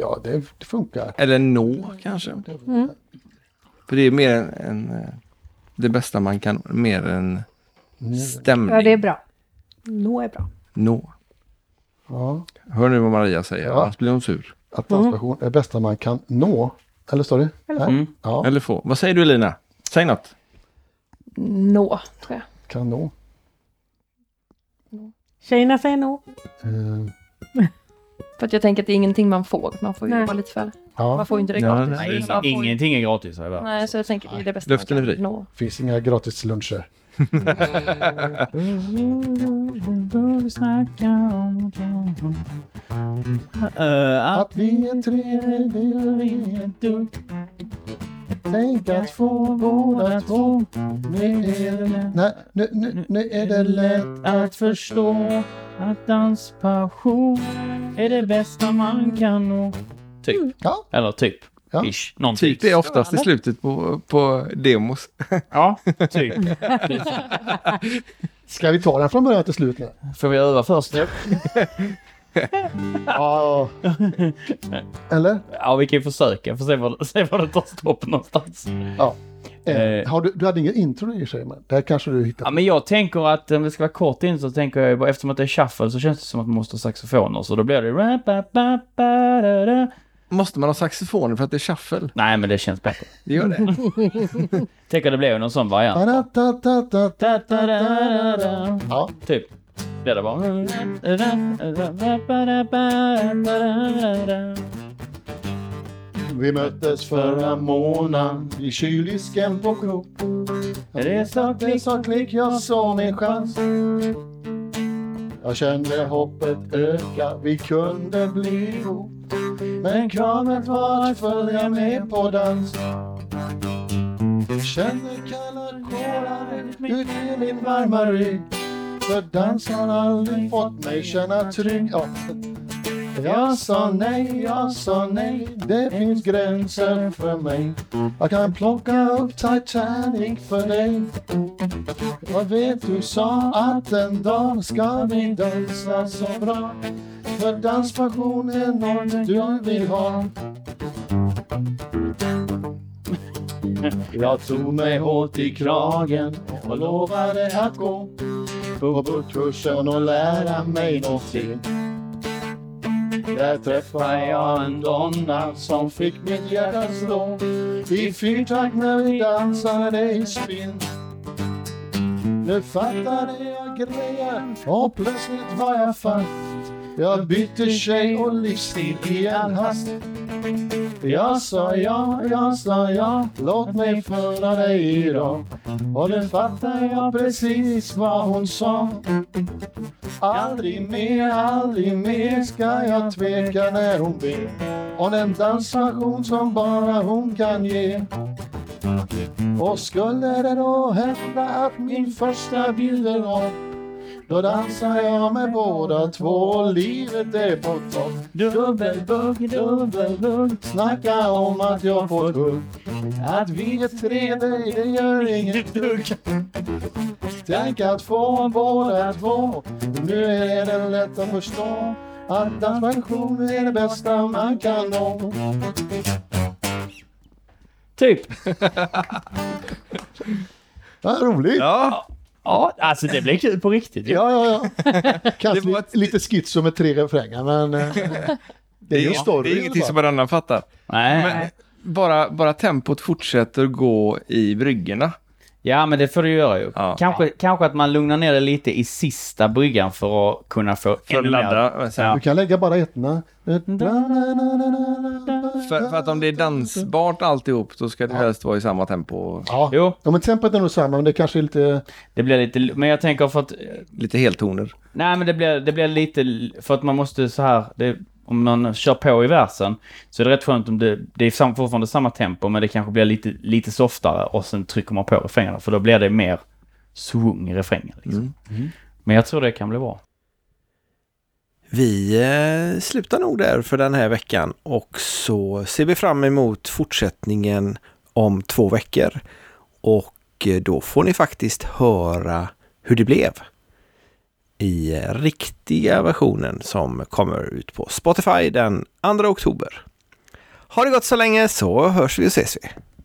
S4: ja, det det funkar.
S6: Eller nå kanske.
S1: Mm.
S6: För det är mer en, en, eh, det bästa man kan, mer en stämning.
S1: Ja, det är bra. Nå är bra.
S6: Nå.
S4: Ja.
S6: Hör nu vad Maria säger,
S4: Ja.
S6: annars blir hon sur.
S4: Att dansstation är det bästa man kan nå. Eller står det?
S3: Mm.
S4: Nej.
S2: Mm.
S4: Ja,
S6: Eller få. Vad säger du Elina? Säg något.
S5: Nå, tror jag.
S4: kan nå.
S1: Tjejerna säger nå.
S4: Eh,
S5: För att jag tänker att det är ingenting man får. Man får ju
S1: Nej.
S5: jobba lite för det.
S4: ja,
S5: Man får ju inte det
S6: Ja,
S5: gratis.
S6: nej.
S3: ing-
S5: Man får ju-
S3: ingenting är gratis här i världen.
S5: Nej, så jag tänker det är det bästa
S6: Luften
S5: man
S6: är
S5: kan
S6: fri.
S5: nå.
S4: finns inga gratisluncher.
S3: Eh,
S4: Att vi är tre, det gör ingenting. Tänk att få båda två. Nu är det, nej, nu, nu, nu är det lätt att förstå.
S3: att danspassion är det bästa man kan nå. Typ.
S4: Ja.
S3: Eller typ.
S4: Ja.
S3: Ish. Någonting.
S6: Typ är oftast i slutet på, på demos.
S3: Ja, typ.
S4: Ska vi ta den från början till slut nu?
S3: Får vi öva först?
S4: Ja. Eller?
S3: Ja, vi kan ju försöka. Får se var, se var det tar stopp någonstans.
S4: Mm. Eh,
S3: Eh.
S4: Har du, du hade ingen intro i och för sig, men det här kanske du hittar.
S3: Ja, men jag tänker att om det ska vara kort in så tänker jag ju bara, eftersom att det är shuffle så känns det som att man måste ha saxofoner. Så då blir det... ra-ba-ba-ba-da-da.
S6: Måste man ha saxofoner för att det är shuffle?
S3: Nej, men det känns bättre.
S6: Det gör det.
S3: Tänker det blir ju någon sån variant.
S4: Ta-da-ta-ta-ta.
S3: Ta-ta-da-da-da.
S4: Ja,
S3: Typ. Blir det
S4: Mm.
S3: bara...
S4: vi möttes förra månaden i kyldisken på Coop.
S3: Resa
S4: Det
S3: klick.
S4: sa klick, jag såg min chans. Jag kände hoppet öka, vi kunde bli ihop. Men kravet var att följa med på dans. Känner kalla kårar ut i min varma rygg. För dans har aldrig fått mig känna trygg. Ja. Jag sa nej, jag sa nej, det finns gränser för mig. Jag kan plocka upp Titanic för dig. Jag vet du sa att en dag ska vi dansa så bra. För danspassion är något du vill ha. Jag tog mig hårt i kragen och lovade att gå på buckkursen och lära mig någonting. Där träffade jag en donna som fick mitt hjärta att slå i fyrtakt när vi dansade i spinn. Nu fattade jag grejer och plötsligt var jag fast. Jag bytte tjej och livsstil i all hast. Jag sa ja, jag sa ja, låt mig föra dig idag. Och nu fattar jag precis vad hon sa. Aldrig mer, aldrig mer ska jag tveka när hon ber om den danspassion som bara hon kan ge. Och skulle det då hända att min första bild är av då dansar jag med båda två och livet är på topp. Dubbelbugg, dubbelbugg, snacka om att jag får hugg. Att vi är tre, det det gör inget dugg. Tänk att få båda två, nu är det lätt att förstå att danspassion är det bästa man kan nå.
S3: Typ.
S4: Vad roligt!
S6: Ja,
S3: Ja, alltså det blir kul på riktigt.
S4: Ja, ja, ja. Kanske
S6: Det var ett-
S4: lite schizo med tre refränger, men... eh, Det är ju story.
S6: det är ingenting som någon annan fattar.
S3: Nej.
S6: Men bara, bara tempot fortsätter gå i bryggorna.
S3: Ja, men det får du göra ju.
S6: Ja.
S3: Kanske, kanske att man lugnar ner det lite i sista bryggan för att kunna få
S6: För att
S3: ännu mer-
S6: ladda. men Sen,
S3: Ja.
S4: Du kan lägga bara ettorna.
S6: för, för att om det är dansbart alltihop så ska det helst vara i samma tempo.
S4: Ja.
S3: Jo,
S4: ja, men tempot är nog samma, men det kanske är lite...
S3: det blir lite... Men jag tänker för att...
S6: Lite heltoner.
S3: Nej, men det blir, det blir lite... För att man måste så här... Det, om man kör på i versen så är det rätt skönt om det... Det är sam, fortfarande samma tempo, men det kanske blir lite, lite softare och sen trycker man på refrängerna, för då blir det mer swung i refrängen. Liksom.
S6: Mm.
S3: Men jag tror det kan bli bra.
S2: Vi eh, slutar nog där för den här veckan och så ser vi fram emot fortsättningen om två veckor. Och eh, då får ni faktiskt höra hur det blev. i eh, riktiga versionen som kommer ut på Spotify den 2 oktober. Har det gått så länge så hörs vi och ses vi.